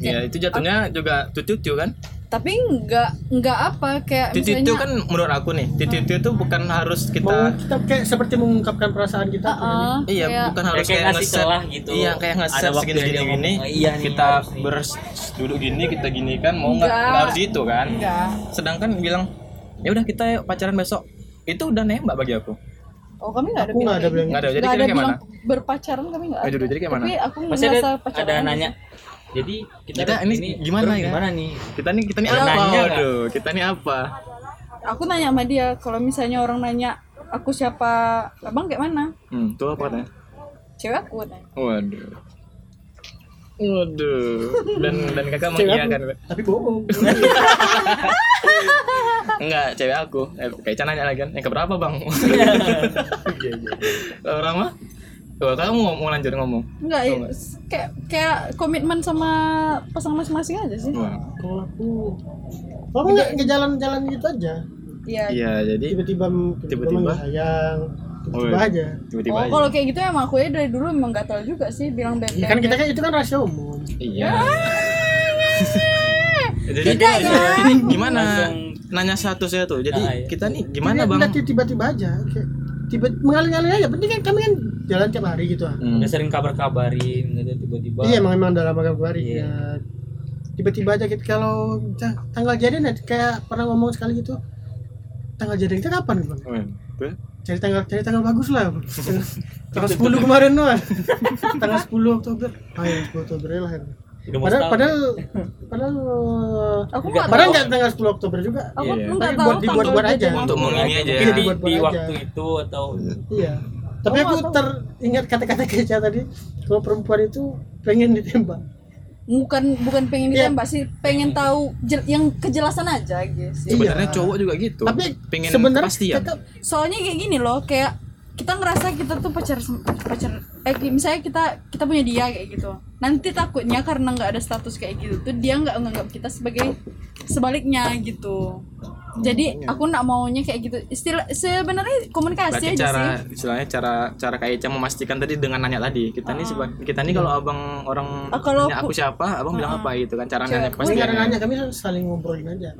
Speaker 4: Ya, itu jatuhnya juga cucu-cucu kan?
Speaker 3: Tapi nggak nggak apa kayak
Speaker 4: Cucu-cucu
Speaker 3: misalnya
Speaker 4: kan menurut aku nih, cucu-cucu itu bukan harus
Speaker 1: Mau
Speaker 4: kita
Speaker 1: kita kayak seperti mengungkapkan perasaan kita. gitu.
Speaker 3: ah,
Speaker 4: Iya,
Speaker 3: kayak
Speaker 4: bukan
Speaker 2: Ya,
Speaker 4: harus
Speaker 2: kayak
Speaker 4: kayak,
Speaker 2: ngasih
Speaker 4: ngeset
Speaker 2: celah gitu.
Speaker 4: Iya, kayak ngeset
Speaker 2: Ada waktu
Speaker 4: segini
Speaker 2: yang
Speaker 4: gini
Speaker 2: dia
Speaker 4: gini.
Speaker 2: ngomong, "Iya nih,
Speaker 4: kita
Speaker 2: harus nih."
Speaker 4: bers duduk gini, kita gini kan mau nggak
Speaker 3: Enggak.
Speaker 4: nggak harus gitu kan.
Speaker 3: enggak.
Speaker 4: Sedangkan bilang, "Ya udah kita yuk pacaran besok." Itu udah nembak bagi aku.
Speaker 3: Oh, kami nggak ada
Speaker 1: Aku nggak ada bilang.
Speaker 4: Enggak ada. Jadi
Speaker 3: nggak ada
Speaker 4: kira kayak
Speaker 3: bilang
Speaker 4: mana?
Speaker 3: berpacaran kami nggak.
Speaker 4: Aduh,
Speaker 3: ada.
Speaker 4: jadi kayak mana?
Speaker 3: Tapi aku
Speaker 2: masih
Speaker 3: merasa
Speaker 2: ada
Speaker 3: pacaran.
Speaker 2: ada nanya jadi kita,
Speaker 4: Kita ini gimana
Speaker 2: terus
Speaker 4: ya?
Speaker 2: gimana nih
Speaker 4: Kita nih kita nih
Speaker 2: Ada
Speaker 4: apa?
Speaker 2: nanya nggak?
Speaker 4: Waduh, kita nih apa?
Speaker 3: Aku nanya sama dia kalau misalnya orang nanya aku siapa, abang kayak mana?
Speaker 4: Hmm, tuh apa katanya?
Speaker 3: Cewek aku katanya.
Speaker 4: Waduh. Waduh. Dan dan kakak
Speaker 1: Cewek
Speaker 4: mengiyakan.
Speaker 1: aku, tapi bohong.
Speaker 4: Enggak, cewek aku. Eh, kayak Chan nanya lagi kan. Yang keberapa, Bang? Iya, Kalau Rama? Kalau kamu mau, mau lanjut ngomong.
Speaker 3: Enggak, ya, kayak kayak komitmen sama pasangan masing-masing aja sih.
Speaker 4: Wah.
Speaker 1: Kalau aku Kalau aku nggak ke jalan-jalan gitu aja.
Speaker 3: Iya.
Speaker 4: Iya, jadi
Speaker 1: Tiba-tiba
Speaker 4: Tiba-tiba?
Speaker 1: tiba-tiba sayang. Tiba-tiba
Speaker 4: Woi.
Speaker 1: aja.
Speaker 4: tiba-tiba
Speaker 3: Oh,
Speaker 4: aja.
Speaker 3: kalau kayak gitu emang aku ya dari dulu emang gatel juga sih bilang beb.
Speaker 1: Ya kan kita kan itu kan rahasia umum.
Speaker 4: Iya. jadi,
Speaker 3: Tidak,
Speaker 4: jadi-
Speaker 3: ya.
Speaker 4: jadi gimana?
Speaker 2: Langsung-
Speaker 4: Nanya statusnya tuh. Jadi
Speaker 2: Ah, iya.
Speaker 4: kita nih gimana,
Speaker 1: Jadi,
Speaker 4: Bang?
Speaker 1: udah tiba-tiba aja. Kayak tiba mengalir-ngalir aja. Penting kan kami kan jalan tiap hari gitu. ah.
Speaker 4: Hmm.
Speaker 2: udah sering kabar kabarin gitu tiba-tiba
Speaker 1: Iya emang emang dalam agama hari
Speaker 2: Iya.
Speaker 1: ya. Tiba-tiba aja kita kalau ta- tanggal jadian ya, kayak pernah ngomong sekali gitu. Tanggal jadian kita kapan bang?
Speaker 4: Weh, tuh.
Speaker 1: Cari tanggal cari tanggal bagus lah. Bang. tanggal 10 kemarin doang. tanggal 10 Oktober. Ayo 10 Oktober ya lah.
Speaker 2: udah mau
Speaker 1: Padahal
Speaker 2: setahun.
Speaker 1: padahal padahal
Speaker 3: Aku
Speaker 2: Enggak,
Speaker 3: enggak
Speaker 1: padahal
Speaker 3: tahu.
Speaker 1: nggak tanggal 10 Oktober juga.
Speaker 3: Aku
Speaker 4: Iya.
Speaker 3: enggak
Speaker 1: Tapi
Speaker 3: tahu
Speaker 1: buat- dibuat-buat
Speaker 3: tanggal
Speaker 1: aja.
Speaker 3: jadian.
Speaker 4: Untuk mengini aja.
Speaker 2: Mungkin di,
Speaker 1: Buat-buat
Speaker 2: di
Speaker 1: aja.
Speaker 2: waktu itu atau
Speaker 1: Iya. Tapi
Speaker 3: Kamu
Speaker 1: aku
Speaker 3: nggak tahu.
Speaker 1: teringat kata-kata Keca tadi kalau perempuan itu pengen ditembak.
Speaker 3: Bukan bukan pengen
Speaker 1: Iya.
Speaker 3: ditembak sih, pengen tahu jel- yang kejelasan aja ya. guys.
Speaker 4: Sebenarnya
Speaker 1: Iya.
Speaker 4: cowok juga gitu.
Speaker 1: Tapi
Speaker 4: pengen
Speaker 1: sebenarnya
Speaker 4: kepastian.
Speaker 1: tetap-
Speaker 3: Soalnya kayak gini loh, kayak kita ngerasa kita tuh pacar sem- pacar eh kayak misalnya kita kita punya dia kayak gitu nanti takutnya karena nggak ada status kayak gitu tuh dia nggak menganggap kita sebagai sebaliknya gitu jadi aku nggak maunya kayak gitu istilah sebenarnya komunikasi
Speaker 4: Berarti
Speaker 3: aja
Speaker 4: cara
Speaker 3: sih
Speaker 4: istilahnya cara cara Kak Eca memastikan tadi dengan nanya tadi. Kita nih seba- kita nih kalau abang orang
Speaker 3: Ah, kalau
Speaker 4: nanya aku siapa, abang bilang apa gitu kan ya. cara
Speaker 3: Cewek
Speaker 4: nanya
Speaker 3: aku
Speaker 1: Pasti
Speaker 4: kepastian.
Speaker 1: karena nanya kami saling ngobrolin aja.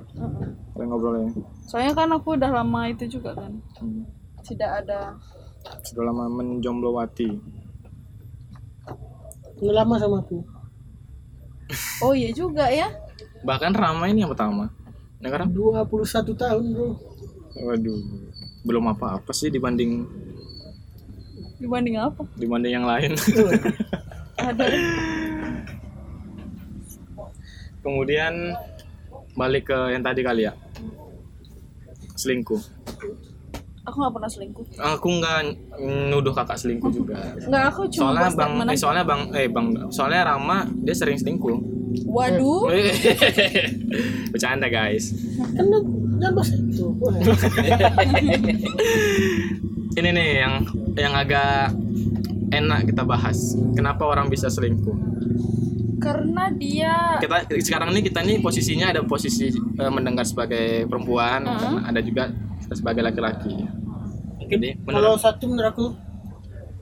Speaker 4: Kalau ngobrolnya.
Speaker 3: Soalnya kan aku udah lama itu juga kan.
Speaker 4: Hmm.
Speaker 3: Tidak ada
Speaker 4: Sudah lama menjomblowati.
Speaker 1: Udah lama sama aku.
Speaker 3: Oh iya juga ya.
Speaker 4: Bahkan ramai ini yang pertama. Nah, karena
Speaker 1: 21 tahun bro
Speaker 4: Waduh, belum apa-apa sih dibanding
Speaker 3: Dibanding apa?
Speaker 1: Gitu
Speaker 4: dibanding yang lain. Kemudian balik ke yang tadi kali ya. Selingkuh.
Speaker 3: aku nggak pernah selingkuh
Speaker 4: Aku nggak nuduh kakak selingkuh juga.
Speaker 3: nggak aku cuma
Speaker 4: Soalnya
Speaker 3: buat
Speaker 4: bang,
Speaker 3: statement
Speaker 4: eh,
Speaker 3: aja.
Speaker 4: soalnya bang, eh bang, soalnya Rama dia sering selingkuh.
Speaker 3: waduh
Speaker 4: Bercanda guys.
Speaker 1: kan lu- jangan bahas itu Wah.
Speaker 4: Ini nih yang yang agak enak kita bahas. Kenapa orang bisa selingkuh?
Speaker 3: karena dia
Speaker 4: kita sekarang ini kita nih posisinya ada posisi eh, mendengar sebagai perempuan dan ada juga kita sebagai laki-laki jadi
Speaker 1: kalau
Speaker 4: menurut
Speaker 1: satu menurut aku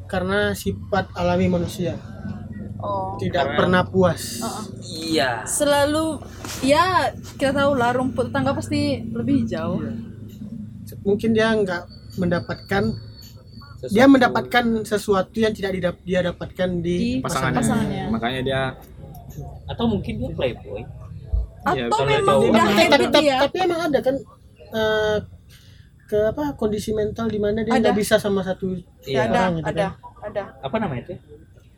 Speaker 1: karena sifat alami manusia
Speaker 3: oh
Speaker 1: tidak
Speaker 2: Karena-
Speaker 1: pernah puas
Speaker 3: uh-uh.
Speaker 2: iya
Speaker 3: selalu ya kita tahu lah rumput tangga pasti lebih hijau
Speaker 1: mungkin dia nggak mendapatkan
Speaker 2: Sesuatu-
Speaker 1: dia mendapatkan sesuatu yang tidak didap- dia dapatkan di,
Speaker 3: Di
Speaker 4: pasangannya.
Speaker 3: pasangannya.
Speaker 4: makanya dia
Speaker 2: atau mungkin dia playboy
Speaker 4: Iya,
Speaker 3: atau
Speaker 4: kalau
Speaker 3: memang
Speaker 4: itu-
Speaker 3: udah
Speaker 1: Tapi-
Speaker 3: habit
Speaker 1: tapi,
Speaker 3: dia
Speaker 1: tapi emang ada kan eh, ke apa kondisi mental di mana dia
Speaker 3: Ada.
Speaker 1: nggak bisa sama satu
Speaker 2: Iya.
Speaker 3: Ya, ada
Speaker 1: orang gitu
Speaker 3: ada
Speaker 1: kan.
Speaker 3: ada
Speaker 2: apa namanya itu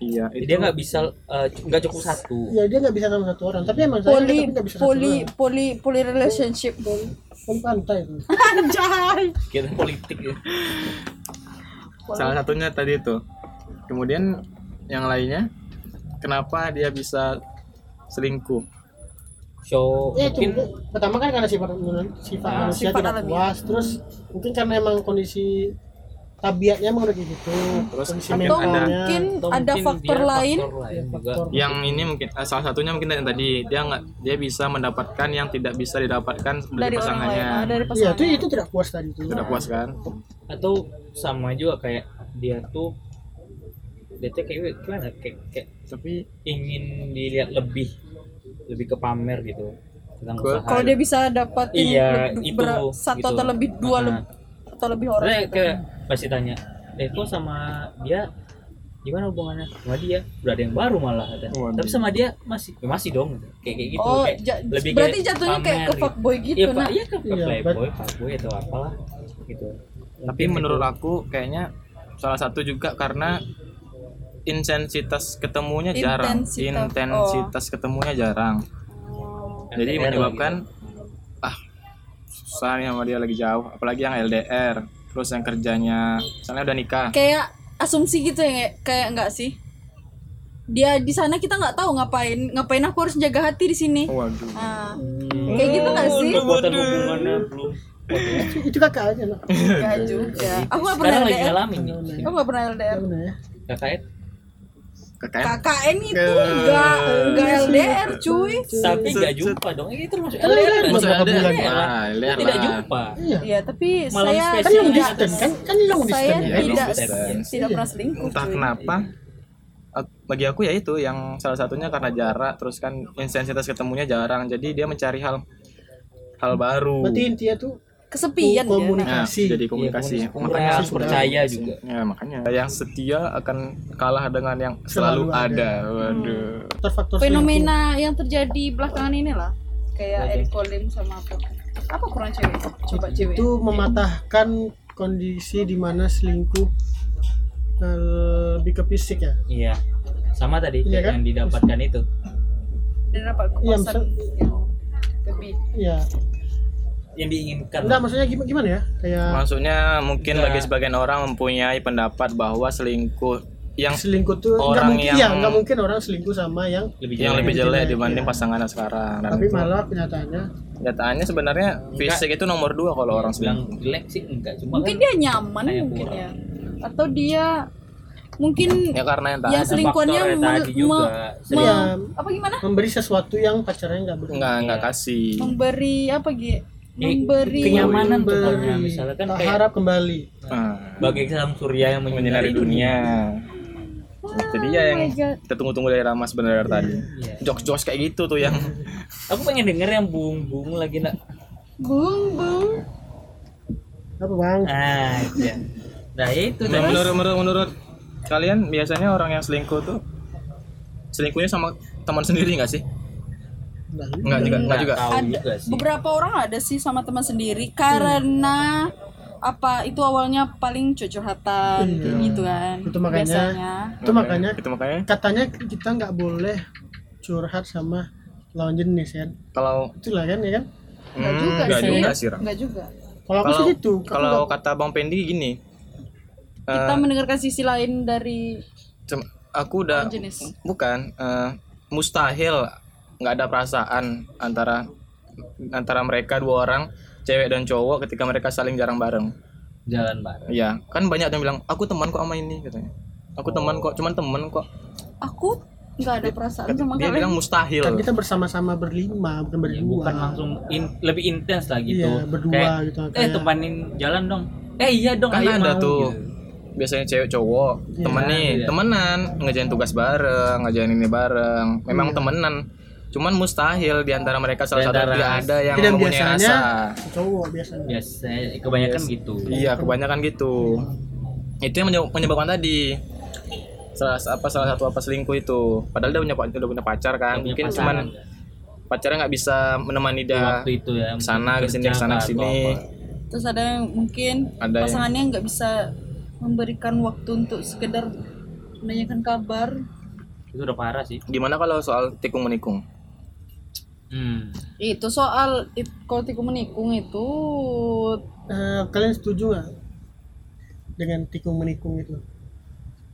Speaker 4: iya itu
Speaker 2: dia nggak bisa eh, c- nggak cukup satu
Speaker 1: ya dia nggak bisa sama satu orang tapi emang saya
Speaker 3: poli
Speaker 1: tapi nggak bisa
Speaker 3: poli
Speaker 1: satu orang.
Speaker 3: poli poli relationship
Speaker 1: poli pantai itu
Speaker 3: anjay
Speaker 2: kita politik ya
Speaker 4: salah satunya tadi itu kemudian yang lainnya kenapa dia bisa selingkuh
Speaker 2: show
Speaker 1: ya itu
Speaker 2: mungkin
Speaker 1: pertama kan karena sifat sifat
Speaker 2: Ah.
Speaker 1: manusia
Speaker 3: Sifat
Speaker 1: tidak
Speaker 3: alami.
Speaker 1: puas terus mungkin karena emang kondisi tabiatnya emang udah kayak gitu
Speaker 4: Terus
Speaker 1: kondisi
Speaker 4: mungkin
Speaker 3: atau
Speaker 4: ada-
Speaker 3: mungkin
Speaker 2: atau
Speaker 3: ada
Speaker 2: mungkin
Speaker 3: faktor
Speaker 2: dia
Speaker 3: lain
Speaker 2: faktor lain juga
Speaker 1: faktor.
Speaker 4: yang ini mungkin eh, salah satunya mungkin yang tadi dia nggak dia bisa mendapatkan yang tidak bisa didapatkan
Speaker 3: dari
Speaker 4: dari,
Speaker 3: orang lain
Speaker 4: pasangannya
Speaker 3: ah, dari
Speaker 1: iya
Speaker 3: pasangan
Speaker 1: itu itu tidak puas tadi itu
Speaker 4: sudah puas kan
Speaker 2: atau sama juga kayak dia tuh dia tuh kayak gimana kayak, kayak
Speaker 4: tapi
Speaker 2: ingin dilihat lebih lebih ke pamer gitu tentang
Speaker 4: Ke-
Speaker 2: usaha gitu.
Speaker 3: kalau dia bisa dapatin
Speaker 2: Iya,
Speaker 3: lebih
Speaker 2: itu,
Speaker 3: ber- satu
Speaker 2: gitu.
Speaker 3: atau lebih dua
Speaker 2: Nah.
Speaker 3: lebih atau lebih orang
Speaker 2: Soalnya
Speaker 3: gitu.
Speaker 2: kayak pasti tanya eh kok sama dia gimana hubungannya sama dia udah ada yang baru malah kata.
Speaker 4: Waduh.
Speaker 2: tapi sama dia masih ya masih dong kayak kayak gitu
Speaker 3: oh
Speaker 2: kayak
Speaker 3: ja-
Speaker 2: lebih
Speaker 3: berarti jatuhnya kayak ke
Speaker 2: pamer
Speaker 3: fuckboy gitu
Speaker 2: Iya,
Speaker 3: nah
Speaker 2: Pak. Iya, ke ke
Speaker 1: Iya,
Speaker 2: playboy, fuckboy atau apalah gitu.
Speaker 4: tapi menurut aku kayaknya salah satu juga karena intensitas ketemunya jarang
Speaker 3: Intensitas. oh.
Speaker 4: intensitas ketemunya jarang
Speaker 2: kan
Speaker 4: jadi
Speaker 2: gitu.
Speaker 4: menyebabkan ah susah nih sama dia lagi jauh apalagi yang LDR terus yang kerjanya misalnya udah nikah
Speaker 3: kayak asumsi gitu ya kayak- kayak enggak sih dia di sana kita nggak tahu ngapain ngapain aku harus jaga hati di sini
Speaker 4: waduh
Speaker 3: Ah, kayak gitu nggak
Speaker 2: Oh,
Speaker 3: sih
Speaker 4: Hmm.
Speaker 2: kekuatan hubungannya belum
Speaker 1: itu, itu kakak aja nak
Speaker 3: ya juga aku nggak pernah
Speaker 2: sekarang lagi
Speaker 3: LDR
Speaker 2: ngalamin nih Iya.
Speaker 3: aku nggak pernah LDR
Speaker 1: Gimana ya?
Speaker 2: kakaknya
Speaker 4: KKN
Speaker 3: KKN itu
Speaker 4: Ke-
Speaker 3: enggak enggak LDR cuy
Speaker 2: tapi nggak jumpa dong ini termasuk
Speaker 4: Iya,
Speaker 1: Kan LDR
Speaker 2: LDR
Speaker 1: masuk
Speaker 2: Kan?
Speaker 1: bulan.
Speaker 3: ya?
Speaker 4: Ah, LDR
Speaker 2: tidak
Speaker 4: lah.
Speaker 2: jumpa
Speaker 1: iya
Speaker 3: Iya tapi
Speaker 2: Malam
Speaker 3: saya
Speaker 1: kan
Speaker 2: spesial.
Speaker 1: long
Speaker 3: tidak
Speaker 1: distance kan kan long
Speaker 3: saya
Speaker 1: distance
Speaker 4: ya, long
Speaker 3: tidak
Speaker 4: distance.
Speaker 3: tidak pernah selingkuh
Speaker 4: entah
Speaker 1: Iya,
Speaker 3: cuy.
Speaker 4: kenapa ak- bagi aku ya itu yang salah satunya karena jarak terus kan intensitas ketemunya jarang jadi dia mencari hal hal baru
Speaker 1: berarti intinya tuh
Speaker 3: kesepian dia,
Speaker 1: Komunikasi. Iya.
Speaker 3: nah.
Speaker 4: Nah, jadi
Speaker 2: Iya,
Speaker 4: komunikasi
Speaker 2: komunikasi.
Speaker 4: makanya
Speaker 2: Harus percaya juga.
Speaker 4: Ya, makanya yang setia akan kalah dengan yang selalu,
Speaker 1: Selalu
Speaker 4: ada. Waduh.
Speaker 1: faktor
Speaker 3: fenomena yang terjadi belakangan inilah kayak Eric Colin sama apa apa kurang cewek coba cewek
Speaker 1: itu mematahkan kondisi di mana selingkuh eh, lebih ke fisik ya
Speaker 2: iya sama tadi
Speaker 1: Iya, kan?
Speaker 2: yang didapatkan itu
Speaker 3: dan dapat
Speaker 1: Iya,
Speaker 3: kepuasan
Speaker 1: maksud-
Speaker 3: yang lebih
Speaker 1: iya
Speaker 2: yang
Speaker 4: Iya,
Speaker 2: diinginkan
Speaker 1: enggak maksudnya gimana gimana ya kayak
Speaker 4: Maksudnya mungkin
Speaker 1: Iya.
Speaker 2: Enggak.
Speaker 4: bagi sebagian orang mempunyai pendapat bahwa selingkuh yang
Speaker 1: selingkuh tuh nggak
Speaker 4: Orang
Speaker 1: mungkin
Speaker 4: yang-
Speaker 1: ya nggak mungkin orang selingkuh sama yang
Speaker 2: lebih
Speaker 4: yang
Speaker 2: jelek.
Speaker 4: lebih jelek
Speaker 1: Jelek,
Speaker 4: dibanding
Speaker 1: iya.
Speaker 4: pasangannya sekarang. Dan
Speaker 1: tapi
Speaker 4: itu
Speaker 1: malah kenyataannya
Speaker 4: kenyataannya sebenarnya fisik itu nomor dua kalau orang
Speaker 2: bilang
Speaker 4: selingkuh.
Speaker 2: jelek sih enggak cuma
Speaker 3: mungkin
Speaker 2: kan
Speaker 3: dia nyaman
Speaker 2: Kayak
Speaker 3: mungkin
Speaker 2: kurang.
Speaker 3: ya atau dia mungkin
Speaker 1: Hmm.
Speaker 4: Ya karena yang tak
Speaker 3: yang
Speaker 4: ada.
Speaker 3: selingkuhannya
Speaker 2: faktor yang
Speaker 3: me-
Speaker 2: tadi juga
Speaker 3: me-
Speaker 2: sering.
Speaker 1: Iya.
Speaker 3: apa gimana
Speaker 1: memberi sesuatu yang pacarnya nggak beri
Speaker 4: nggak nggak kasih.
Speaker 3: memberi apa
Speaker 4: Iya,
Speaker 3: gitu memberi
Speaker 2: kenyamanan tuh
Speaker 1: Memberi
Speaker 2: kalau misalnya kan
Speaker 1: tak
Speaker 2: kayak
Speaker 1: harap kembali
Speaker 4: Nah,
Speaker 2: bagai sang surya yang menyinari
Speaker 4: menyinari dunia. Jadi ya yang
Speaker 3: Oh my God.
Speaker 4: kita tunggu-tunggu dari Rama sebenarnya dari tadi.
Speaker 2: Iya.
Speaker 4: Jokes-jokes kayak gitu tuh yang
Speaker 2: aku pengen denger yang bung bung lagi nak
Speaker 3: bung bung
Speaker 1: apa bang
Speaker 2: ah iya nah itu
Speaker 4: Nah,
Speaker 2: tadi.
Speaker 4: menurut menurut menurut kalian biasanya orang yang selingkuh tuh selingkuhnya sama teman sendiri nggak sih?
Speaker 1: Nah,
Speaker 4: Nggak juga, nggak juga.
Speaker 2: tahu
Speaker 3: Ada-
Speaker 2: juga sih
Speaker 3: beberapa orang ada sih sama teman sendiri karena apa itu awalnya paling curhatan kayak
Speaker 1: Iya.
Speaker 3: gitu kan
Speaker 1: Itu makanya-
Speaker 3: biasanya
Speaker 1: Itu makanya-
Speaker 4: itu makanya
Speaker 1: katanya kita nggak boleh curhat sama lawan jenis kan
Speaker 4: kalau
Speaker 1: itulah kan ya kan
Speaker 3: nggak
Speaker 4: Hmm,
Speaker 3: juga
Speaker 4: nggak
Speaker 3: sih
Speaker 4: juga sih Ram.
Speaker 3: nggak juga
Speaker 1: kalau aku sih
Speaker 4: Kalau-
Speaker 1: gitu Aku
Speaker 4: kalau
Speaker 1: nggak-
Speaker 4: kata Bang Pendi gini eh,
Speaker 3: kita mendengarkan sisi lain dari
Speaker 4: Cem- aku udah
Speaker 3: Lawan jenis.
Speaker 4: bukan eh, mustahil nggak ada perasaan antara antara mereka dua orang cewek dan cowok ketika mereka saling jarang bareng
Speaker 2: jalan bareng
Speaker 4: Iya kan banyak yang bilang aku teman kok sama ini katanya aku teman kok cuman teman kok
Speaker 3: aku nggak ada perasaan
Speaker 4: dia
Speaker 3: sama
Speaker 4: bilang
Speaker 3: kalian
Speaker 4: mustahil
Speaker 1: kan kita bersama-sama berlima bukan
Speaker 2: Ya,
Speaker 1: berdua
Speaker 2: bukan langsung in- lebih intens lah gitu
Speaker 1: Iya, berdua
Speaker 2: Kayak,
Speaker 1: gitu,
Speaker 2: eh
Speaker 1: kayak-
Speaker 2: temanin jalan dong eh iya dong
Speaker 4: kan
Speaker 2: ayo mau,"
Speaker 4: ada tuh
Speaker 2: gitu.
Speaker 4: biasanya cewek cowok
Speaker 1: Iya,
Speaker 4: temen nih
Speaker 2: iya.
Speaker 4: temenan ngejain tugas bareng ngejain ini bareng
Speaker 1: Iya.
Speaker 4: memang temenan cuman mustahil di antara mereka
Speaker 2: Di
Speaker 4: salah satu
Speaker 2: antara-
Speaker 4: tidak ada yang
Speaker 1: Tidak
Speaker 4: mempunyai
Speaker 1: biasanya-
Speaker 4: rasa
Speaker 1: cowok biasanya
Speaker 2: Iya. biasanya kebanyakan gitu
Speaker 4: iya kebanyakan gitu itu yang menyebab- menyebabkan tadi salah apa salah satu apa selingkuh itu padahal dia punya pa- udah punya pacar kan
Speaker 2: Punya
Speaker 4: mungkin cuman
Speaker 2: pacaran kan.
Speaker 4: pacarnya nggak bisa menemani
Speaker 2: Di
Speaker 4: dia
Speaker 2: waktu itu ya
Speaker 4: ke sana ke sini ke sana ke sini
Speaker 3: terus ada yang mungkin
Speaker 4: Ada yang-
Speaker 3: pasangannya nggak bisa memberikan waktu untuk sekedar menanyakan kabar
Speaker 2: itu udah parah sih
Speaker 4: gimana kalau soal tikung menikung
Speaker 2: hmm.
Speaker 3: itu soal it- kalau tikung menikung itu
Speaker 1: Eh, kalian setuju nggak dengan tikung menikung itu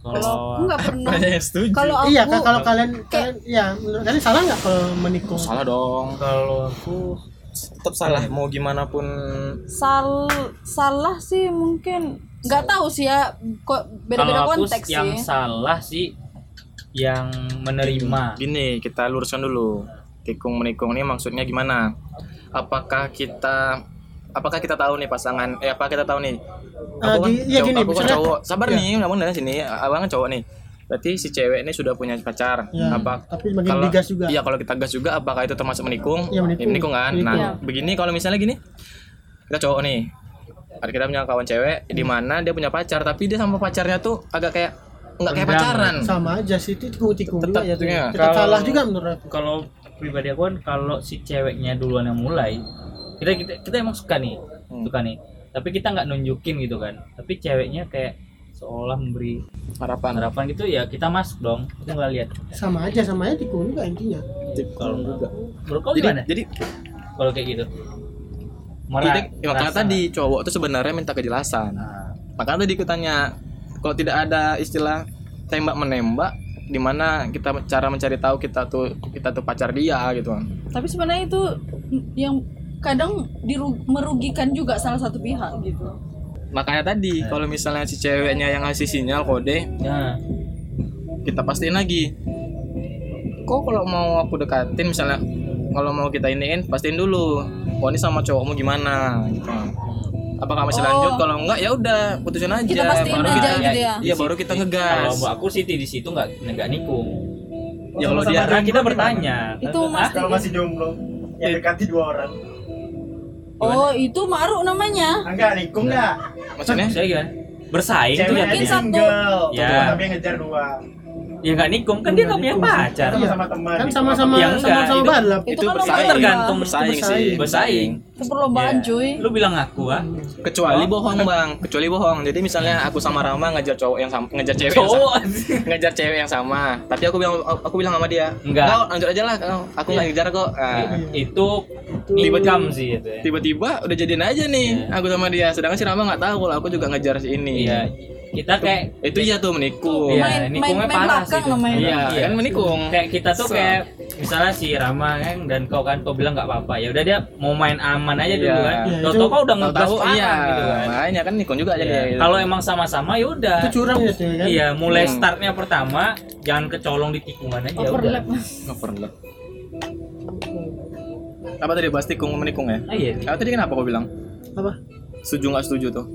Speaker 3: kalau aku
Speaker 2: kalau
Speaker 3: nggak pernah
Speaker 4: setuju
Speaker 3: Nah, kalau aku
Speaker 1: iya kan kalau kalian kalian ya menurut kalian salah nggak kalau menikung
Speaker 4: salah dong
Speaker 2: kalau aku
Speaker 4: tetap salah mau gimana pun
Speaker 3: sal salah sih mungkin nggak tahu sih ya kok
Speaker 2: kalau
Speaker 3: beda-beda
Speaker 2: aku
Speaker 3: konteks
Speaker 2: yang
Speaker 3: sih
Speaker 2: salah sih yang menerima
Speaker 4: gini kita luruskan dulu tikung menikung ini maksudnya gimana apakah kita apakah kita tahu nih pasangan eh apa kita tahu nih
Speaker 1: Ah,
Speaker 4: kan
Speaker 1: gi- iya,
Speaker 4: cowok-
Speaker 1: gini,
Speaker 4: aku kan
Speaker 1: misalnya-
Speaker 4: cowok sabar
Speaker 1: iya.
Speaker 4: nih ngomong dari sini abang kan cowok nih berarti si cewek ini sudah punya pacar
Speaker 1: Ya,
Speaker 4: apa
Speaker 1: tapi makin digas juga.
Speaker 4: iya kalau kita gas juga apakah itu termasuk menikung
Speaker 1: Iya, menikung.
Speaker 4: Ya, kan
Speaker 1: Menikung.
Speaker 4: nah
Speaker 3: Iya.
Speaker 4: begini kalau misalnya gini kita cowok nih ada kita punya kawan cewek
Speaker 1: Hmm.
Speaker 4: di mana dia punya pacar tapi dia sama pacarnya tuh agak kayak nggak kayak
Speaker 2: Rendang.
Speaker 4: pacaran
Speaker 1: sama aja sih itu tikung-tikung
Speaker 4: Tetap,
Speaker 1: juga ya tuh.
Speaker 4: iya.
Speaker 1: tetap
Speaker 2: Kalau-
Speaker 1: salah juga menurut aku
Speaker 2: kalau pribadi aku kan kalau si ceweknya duluan yang mulai kita kita kita emang suka nih
Speaker 4: Hmm.
Speaker 2: suka nih tapi kita nggak nunjukin gitu kan tapi ceweknya kayak seolah memberi
Speaker 4: harapan
Speaker 2: harapan gitu ya kita masuk dong kita nggak lihat
Speaker 1: sama aja sama aja tikung juga intinya
Speaker 4: kalau juga
Speaker 2: menurut kau
Speaker 4: jadi
Speaker 2: gimana
Speaker 4: jadi
Speaker 2: kalau kayak gitu
Speaker 4: kita
Speaker 2: Merah-
Speaker 4: ya, makanya
Speaker 2: merasa
Speaker 4: tadi cowok tuh sebenarnya minta
Speaker 2: nggak?
Speaker 4: kejelasan
Speaker 2: Nah,
Speaker 4: makanya tadi aku tanya kalau tidak ada istilah tembak menembak di mana kita cara mencari tahu kita tuh kita tuh pacar dia gitu kan
Speaker 3: tapi sebenarnya itu yang kadang diru- merugikan juga salah satu pihak gitu
Speaker 4: makanya tadi kalau misalnya si ceweknya yang ngasih sinyal kode
Speaker 2: nah
Speaker 4: kita pastiin lagi kok kalau mau aku dekatin misalnya kalau mau kita iniin pastiin dulu kok ini sama cowokmu gimana gitu apakah masih
Speaker 3: Oh.
Speaker 4: lanjut kalau enggak ya udah putusin aja
Speaker 2: Iya,
Speaker 3: Kita pastiin
Speaker 4: baru
Speaker 3: aja
Speaker 4: kita
Speaker 3: gitu ya?
Speaker 4: iya baru kita
Speaker 2: kalau
Speaker 4: ngegas
Speaker 2: buat aku sih di situ nggak nggak nikung
Speaker 4: Ya, kalau
Speaker 2: Karena
Speaker 4: dia-
Speaker 2: kita bertanya Iya.
Speaker 3: itu
Speaker 2: Ah,
Speaker 3: mas
Speaker 5: masih jomblo ya dekati dua orang
Speaker 3: oh itu maruk namanya
Speaker 5: enggak
Speaker 2: Iya.
Speaker 5: nikung enggak
Speaker 4: maksudnya
Speaker 2: saya gimana bersaing tuh
Speaker 5: cewek
Speaker 2: yang
Speaker 5: aja
Speaker 3: yakin.
Speaker 5: single
Speaker 2: Ya.
Speaker 5: tapi yang ngejar dua
Speaker 2: ya nggak nikung kan dia nggak punya
Speaker 1: Nikung sih.
Speaker 2: pacar
Speaker 1: Iya.
Speaker 5: sama teman
Speaker 1: kan sama-sama
Speaker 2: Yang enggak,
Speaker 1: sama-sama
Speaker 2: itu-
Speaker 1: balap
Speaker 3: itu,
Speaker 4: Itu
Speaker 3: kan
Speaker 4: bersaing.
Speaker 3: lomba
Speaker 2: Tergantung
Speaker 4: bersaing
Speaker 1: bersaing.
Speaker 4: sih
Speaker 2: bersaing
Speaker 3: itu perlombaan
Speaker 2: Iya.
Speaker 3: cuy
Speaker 2: lu bilang aku ah
Speaker 4: kecuali
Speaker 2: Oh.
Speaker 4: bohong bang kecuali bohong jadi misalnya aku sama Rama ngejar cowok yang sama ngejar cewek yang sama,
Speaker 2: cowok
Speaker 4: ngejar cewek yang sama tapi aku bilang aku bilang sama dia
Speaker 2: Enggak. Iya.
Speaker 4: lanjut aja lah aku nggak ngejar kok Nah,
Speaker 2: itu nikam sih itu ya
Speaker 4: tiba-tiba udah jadian aja nih
Speaker 2: Iya.
Speaker 4: aku sama dia sedangkan si Rama nggak tahu kalau aku juga ngejar si ini
Speaker 2: iya kita kayak
Speaker 4: itu iya tuh menikung
Speaker 2: Iya,
Speaker 3: Main-
Speaker 2: ini
Speaker 3: main-
Speaker 2: kungnya
Speaker 3: main
Speaker 2: parah
Speaker 3: belakang
Speaker 2: sih itu.
Speaker 3: namanya.
Speaker 4: Iya, kan menikung.
Speaker 2: Kayak kita tuh
Speaker 4: So.
Speaker 2: kayak misalnya si Rama kan dan kau kan kau bilang nggak apa-apa. Ya udah dia mau main aman aja dulu
Speaker 4: Iya.
Speaker 2: kan.
Speaker 1: Iya,
Speaker 2: Tahu
Speaker 1: itu-
Speaker 2: tahu kau udah
Speaker 4: Tahu
Speaker 2: ngegas
Speaker 4: tahu
Speaker 2: parah
Speaker 4: iya
Speaker 2: gitu kan.
Speaker 4: makanya kan nikung juga
Speaker 2: Iya.
Speaker 4: jadi
Speaker 2: Kalau emang sama-sama ya udah.
Speaker 1: itu curang ya tuh kan
Speaker 2: Iya, mulai
Speaker 4: Hmm.
Speaker 2: startnya pertama jangan kecolong di tikungan aja ya udah.
Speaker 3: overlap
Speaker 4: overlap apa tadi bahas tikung menikung ya
Speaker 2: Ah, iya.
Speaker 4: Ah, tadi kenapa kau bilang
Speaker 1: apa
Speaker 4: setuju nggak setuju tuh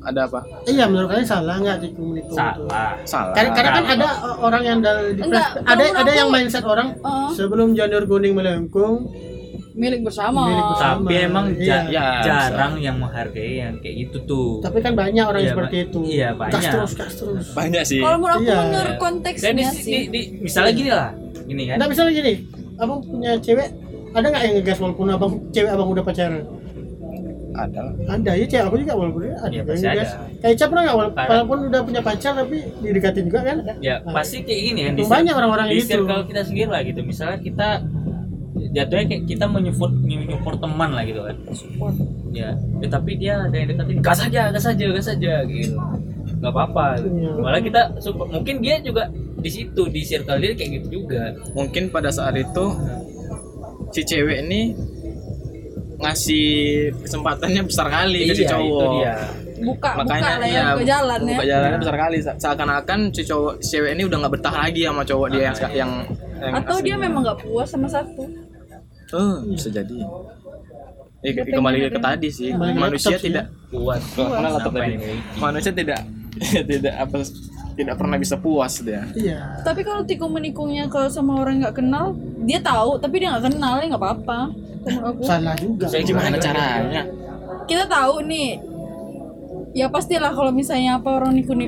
Speaker 4: ada apa
Speaker 1: iya menurut kalian salah nggak tikung menikung itu
Speaker 2: Salah.
Speaker 4: salah
Speaker 1: karena, karena kan
Speaker 2: Salah.
Speaker 1: ada uh, orang yang dari di
Speaker 3: Enggak,
Speaker 1: pres-
Speaker 3: kalau
Speaker 1: ada
Speaker 3: menurut
Speaker 1: ada yang
Speaker 3: aku-
Speaker 1: mindset orang
Speaker 3: Oh,
Speaker 2: eh.
Speaker 1: sebelum janur kuning melengkung
Speaker 3: milik bersama
Speaker 1: Milik bersama.
Speaker 2: Tapi emang ja-
Speaker 4: Iya, bisa.
Speaker 2: jarang yang menghargai yang kayak gitu tuh.
Speaker 1: tapi kan banyak orang
Speaker 2: Iya,
Speaker 1: yang seperti
Speaker 2: ba-
Speaker 1: itu
Speaker 2: iya,
Speaker 1: gas
Speaker 2: banyak.
Speaker 1: terus gas terus
Speaker 4: banyak sih
Speaker 3: kalau menurut aku
Speaker 1: Iya.
Speaker 3: menurut
Speaker 2: Dan di,
Speaker 3: konteksnya
Speaker 2: di,
Speaker 3: sih
Speaker 2: di- misalnya gini lah, gini kan.
Speaker 1: nggak Nah, misalnya gini abang punya cewek ada nggak yang ngegas walaupun abang cewek abang udah pacaran
Speaker 4: ada lah.
Speaker 1: ada ya cewek aku juga walaupun dia ada
Speaker 2: Iya,
Speaker 1: yang
Speaker 2: pasti ada.
Speaker 1: guys kayak Ica pernah nggak wala-
Speaker 2: Parah.
Speaker 1: walaupun udah punya pacar tapi didekatin juga kan
Speaker 2: ya
Speaker 1: Nah,
Speaker 2: pasti kayak gini kan
Speaker 1: Banyak orang-orang
Speaker 2: di
Speaker 1: gitu.
Speaker 2: circle kita sendiri lah gitu misalnya kita jatuhnya kayak kita menyupport menyupport teman lah gitu kan support ya eh, tapi dia ada yang dekatin gas aja gas aja gas aja gitu nggak apa-apa
Speaker 1: Iya.
Speaker 2: malah kita support. mungkin dia juga di situ di circle dia kayak gitu juga
Speaker 4: mungkin pada saat itu si cewek ini ngasih kesempatannya besar kali ke si
Speaker 2: Iya,
Speaker 4: cowok
Speaker 2: itu dia
Speaker 3: buka
Speaker 4: makanya iya,
Speaker 3: buka lah ya, buka jalan ya
Speaker 4: buka jalannya besar kali Se- seakan-akan si cowok si cewek ini udah nggak betah lagi sama cowok dia yang seka- yang, yang
Speaker 3: atau dia
Speaker 4: aslinya.
Speaker 3: memang nggak puas sama satu
Speaker 4: Eh, bisa jadi Eh,
Speaker 3: Dia
Speaker 4: kembali
Speaker 3: pengen
Speaker 4: ke
Speaker 3: ada-
Speaker 4: tadi sih
Speaker 1: Kembali ke
Speaker 4: manusia
Speaker 1: laptop sih.
Speaker 4: tidak
Speaker 2: kuat
Speaker 4: Mana laptop
Speaker 2: Apa
Speaker 4: tadi?
Speaker 2: yang dimiliki?
Speaker 4: manusia tidak tidak apa tidak pernah bisa puas dia
Speaker 1: iya
Speaker 3: tapi kalau tikung menikungnya kalau sama orang yang nggak kenal dia tahu tapi dia nggak kenal ya nggak apa-apa Menurut aku
Speaker 1: salah juga
Speaker 2: Saya cuma-
Speaker 4: gimana caranya
Speaker 3: kita tahu nih ya pastilah kalau misalnya apa orang nikung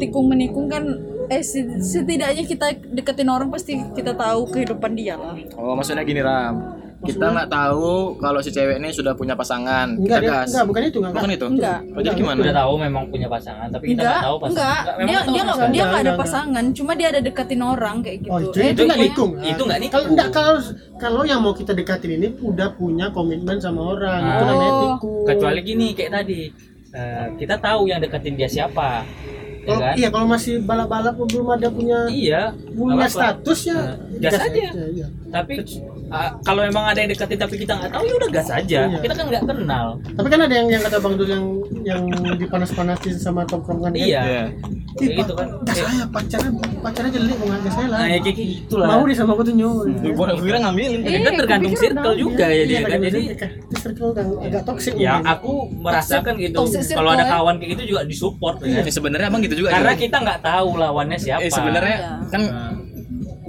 Speaker 3: tikung menikung kan eh se- setidaknya kita deketin orang pasti kita tahu kehidupan dia lah
Speaker 4: oh maksudnya gini ram kita nggak tahu kalau si cewek ini sudah punya pasangan
Speaker 1: enggak
Speaker 4: kita
Speaker 1: dia,
Speaker 4: gas
Speaker 1: enggak bukan itu enggak
Speaker 4: bukan itu
Speaker 3: Enggak.
Speaker 4: oh, jadi gimana
Speaker 2: udah tahu memang punya pasangan tapi kita
Speaker 3: enggak
Speaker 2: nggak tahu
Speaker 3: enggak
Speaker 2: pasangan Memang nggak
Speaker 3: dia
Speaker 2: tahu
Speaker 3: dia
Speaker 2: pasangan.
Speaker 3: nggak dia nggak ada
Speaker 1: Enggak, enggak,
Speaker 3: pasangan cuma dia ada deketin orang kayak gitu
Speaker 1: Oh, itu, itu
Speaker 3: Eh,
Speaker 1: nggak
Speaker 3: pokoknya-
Speaker 1: nikung. kan?
Speaker 2: itu nggak nikung.
Speaker 1: Kalau enggak kalau kalau yang mau kita dekatin ini udah punya komitmen sama orang. Itu
Speaker 2: Ah.
Speaker 1: namanya
Speaker 3: Oh.
Speaker 1: tikung.
Speaker 2: kecuali gini kayak tadi eh, kita tahu yang deketin dia siapa ya
Speaker 1: Kalau-
Speaker 2: kan
Speaker 1: iya kalau masih balap-balap belum ada punya
Speaker 2: iya
Speaker 1: punya
Speaker 2: nggak apa-apa.
Speaker 1: status ya
Speaker 2: Nah, gas aja.
Speaker 1: iya.
Speaker 2: tapi ah, kalau emang ada yang deketin tapi kita nggak tahu ya udah gas aja
Speaker 1: Iya.
Speaker 2: kita kan nggak kenal
Speaker 1: Tapi kan ada yang yang kata Bang Dul yang yang dipanas-panasin sama tongkrongan kan?
Speaker 2: iya
Speaker 4: Iya.
Speaker 2: kayak
Speaker 1: Ih,
Speaker 2: gitu kan
Speaker 1: Pak, gas saya pacarnya pacarnya jelek mau nggak saya lah. iya.
Speaker 2: nah ya kayak gitulah Iya,
Speaker 1: Mau deh sama aku tuh nyuruh.
Speaker 4: Gue kira ngambilin
Speaker 3: Eh,
Speaker 2: kita tergantung
Speaker 3: aku pikir
Speaker 2: circle
Speaker 3: udah.
Speaker 2: juga ya dia kan jadi
Speaker 1: itu Iya, circle yang agak toksik.
Speaker 2: ya
Speaker 1: mungkin.
Speaker 2: aku merasakan gitu
Speaker 3: toxic circle
Speaker 2: kalau ada
Speaker 3: ya.
Speaker 2: kawan kayak gitu juga disupport
Speaker 1: Iya,
Speaker 2: ya.
Speaker 4: Eh, sebenarnya abang gitu juga
Speaker 2: karena
Speaker 1: ya.
Speaker 4: Jul.
Speaker 2: kita nggak tahu lawannya siapa
Speaker 4: eh sebenarnya
Speaker 3: Iya.
Speaker 4: kan
Speaker 2: Nah,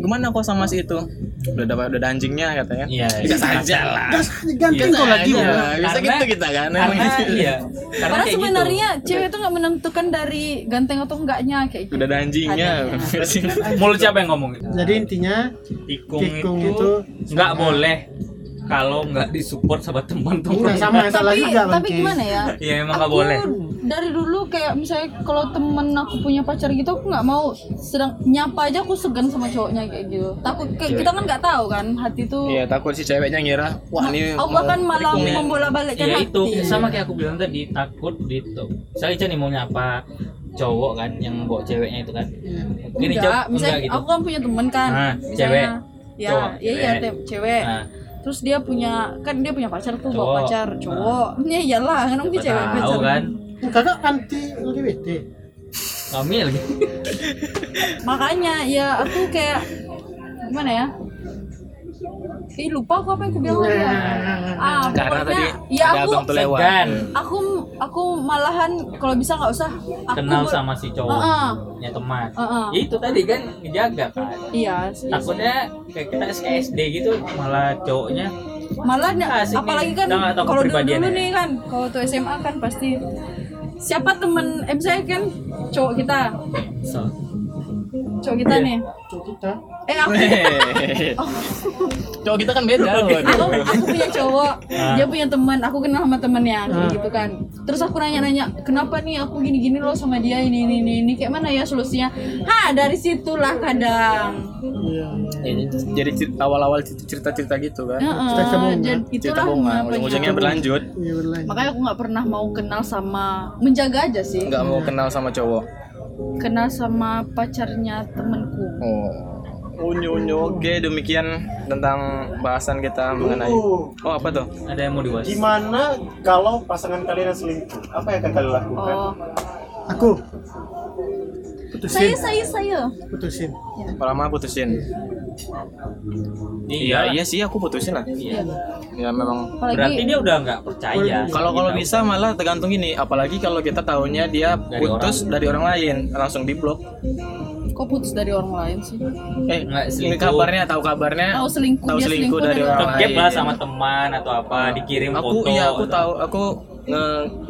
Speaker 4: gimana kok sama si itu udah dapat udah ada anjingnya katanya
Speaker 2: iya
Speaker 4: bisa saja lah
Speaker 1: gas ganti kan kau lagi.
Speaker 4: Iya,
Speaker 1: Bang.
Speaker 4: bisa
Speaker 2: Karena-
Speaker 4: gitu kita kan
Speaker 1: Nah,
Speaker 2: karena iya karena,
Speaker 3: karena
Speaker 2: kayak gitu.
Speaker 3: sebenarnya cewek itu nggak menentukan dari ganteng atau enggaknya kayak gitu
Speaker 4: udah ada anjingnya Iya
Speaker 2: mulut siapa yang ngomong gitu
Speaker 1: Jadi intinya
Speaker 2: tikung,
Speaker 1: Tikung
Speaker 2: itu
Speaker 1: itu
Speaker 2: nggak boleh kalau nggak disupport sama
Speaker 1: Nah,
Speaker 2: teman-teman Ya
Speaker 1: sama yang salah
Speaker 3: tapi
Speaker 1: juga Bang
Speaker 3: tapi
Speaker 1: Ki.
Speaker 3: gimana ya
Speaker 2: Iya, emang nggak boleh.
Speaker 3: dari dulu kayak misalnya kalau temen aku punya pacar gitu aku nggak mau sedang nyapa aja aku segan sama cowoknya kayak gitu takut kayak
Speaker 2: Iya,
Speaker 3: kita kan nggak tahu kan hati tuh
Speaker 4: iya takut si ceweknya ngira wah ini
Speaker 3: aku bahkan malah
Speaker 4: tikungnya.
Speaker 3: membola balikkan
Speaker 2: ya
Speaker 3: kan hati
Speaker 2: itu sama kayak aku bilang tadi takut gitu saya Ica nih mau nyapa cowok kan yang bawa ceweknya itu kan mungkin Ica
Speaker 3: enggak misalnya
Speaker 2: enggak gitu
Speaker 3: aku kan punya temen kan
Speaker 2: Nah,
Speaker 3: misalnya-
Speaker 2: cewek.
Speaker 3: ya
Speaker 2: Cowok,
Speaker 3: iya iya
Speaker 2: cewek.
Speaker 3: te- cewek
Speaker 2: Nah,
Speaker 3: terus dia punya kan dia punya pacar
Speaker 2: Cowok.
Speaker 3: tuh
Speaker 2: Nah.
Speaker 3: bawa pacar cowok ya iyalah kan aku
Speaker 2: siapa
Speaker 3: cewek
Speaker 2: tahu
Speaker 3: pacar
Speaker 2: kan
Speaker 1: Kakak anti LGBT.
Speaker 2: kami lagi
Speaker 3: makanya ya aku kayak gimana ya Ih lupa aku apa yang aku bilang tadi
Speaker 2: Nah.
Speaker 3: ya.
Speaker 1: Nah,
Speaker 3: Ah,
Speaker 4: karena tadi
Speaker 3: pokoknya ya
Speaker 4: ada
Speaker 3: aku
Speaker 4: abang tuh lewat
Speaker 2: segan
Speaker 3: aku aku malahan kalau bisa nggak usah aku
Speaker 2: kenal
Speaker 3: ber-
Speaker 2: sama si
Speaker 3: Heeh.
Speaker 2: cowoknya teman
Speaker 3: Heeh.
Speaker 2: Ya itu tadi kan ngejaga kan
Speaker 3: Iya sih.
Speaker 2: takutnya kayak kita SKSD gitu malah cowoknya
Speaker 3: Malah nggak-
Speaker 2: Ah, sini.
Speaker 3: apalagi kan
Speaker 2: Udah nggak tahu
Speaker 3: kalau dulu,
Speaker 2: kepribadiannya.
Speaker 3: dulu nih kan kalau tuh SMA kan pasti siapa temen eh misalnya kan cowok kita
Speaker 2: so,
Speaker 3: cowok kita
Speaker 2: Iya.
Speaker 3: nih
Speaker 1: Cuk, Kita
Speaker 3: eh aku
Speaker 4: Hehehe. cowok kita kan beda loh
Speaker 3: aku, aku punya cowok
Speaker 2: Ah.
Speaker 3: dia punya teman aku kenal sama temennya kayak
Speaker 1: Ah.
Speaker 3: gitu kan terus aku nanya-nanya kenapa nih aku gini-gini loh sama dia ini ini ini, ini kayak mana ya solusinya ha dari situlah kadang
Speaker 1: iya.
Speaker 4: jadi cer- awal-awal cer- cerita-cerita gitu
Speaker 2: Iya.
Speaker 4: kan
Speaker 3: Heeh,
Speaker 1: Cerita bohongan.
Speaker 2: ya.
Speaker 3: jadi
Speaker 4: cerita
Speaker 3: itulah ya?
Speaker 4: bunga
Speaker 3: kenapanya.
Speaker 4: ujung-ujungnya berlanjut
Speaker 1: Iya berlanjut.
Speaker 3: makanya aku nggak pernah mau kenal sama menjaga aja sih
Speaker 4: nggak mau kenal sama cowok
Speaker 3: kenal sama pacarnya temenku
Speaker 4: oh unyu unyu oke demikian tentang bahasan kita mengenai
Speaker 5: Tunggu.
Speaker 4: oh apa tuh
Speaker 2: ada yang mau dibahas
Speaker 5: Gimana kalau pasangan kalian yang selingkuh? Apa yang akan kalian lakukan?
Speaker 3: oh
Speaker 1: Aku putusin.
Speaker 3: saya saya saya
Speaker 1: Putusin.
Speaker 4: lama putusin iya iya sih aku putusin lah
Speaker 2: iya.
Speaker 4: ya memang
Speaker 2: berarti
Speaker 3: apalagi
Speaker 2: dia udah nggak percaya gitu.
Speaker 4: Kalau kalau
Speaker 2: Kita-
Speaker 4: bisa malah tergantung ini, apalagi kalau kita tahunya dia
Speaker 2: Dari
Speaker 4: putus dari orang lain, langsung di blok.
Speaker 3: kok putus dari orang lain sih
Speaker 4: Eh,
Speaker 2: Nggak,
Speaker 4: ini
Speaker 2: selingkuh.
Speaker 4: kabarnya tahu kabarnya
Speaker 3: tahu selingkuh
Speaker 4: tahu
Speaker 3: dia
Speaker 4: selingkuh dari orang
Speaker 2: Kegep lah
Speaker 4: lain.
Speaker 2: sama teman atau apa dikirim
Speaker 4: iya, aku
Speaker 2: foto
Speaker 4: iya aku
Speaker 2: atau-
Speaker 4: tahu aku nge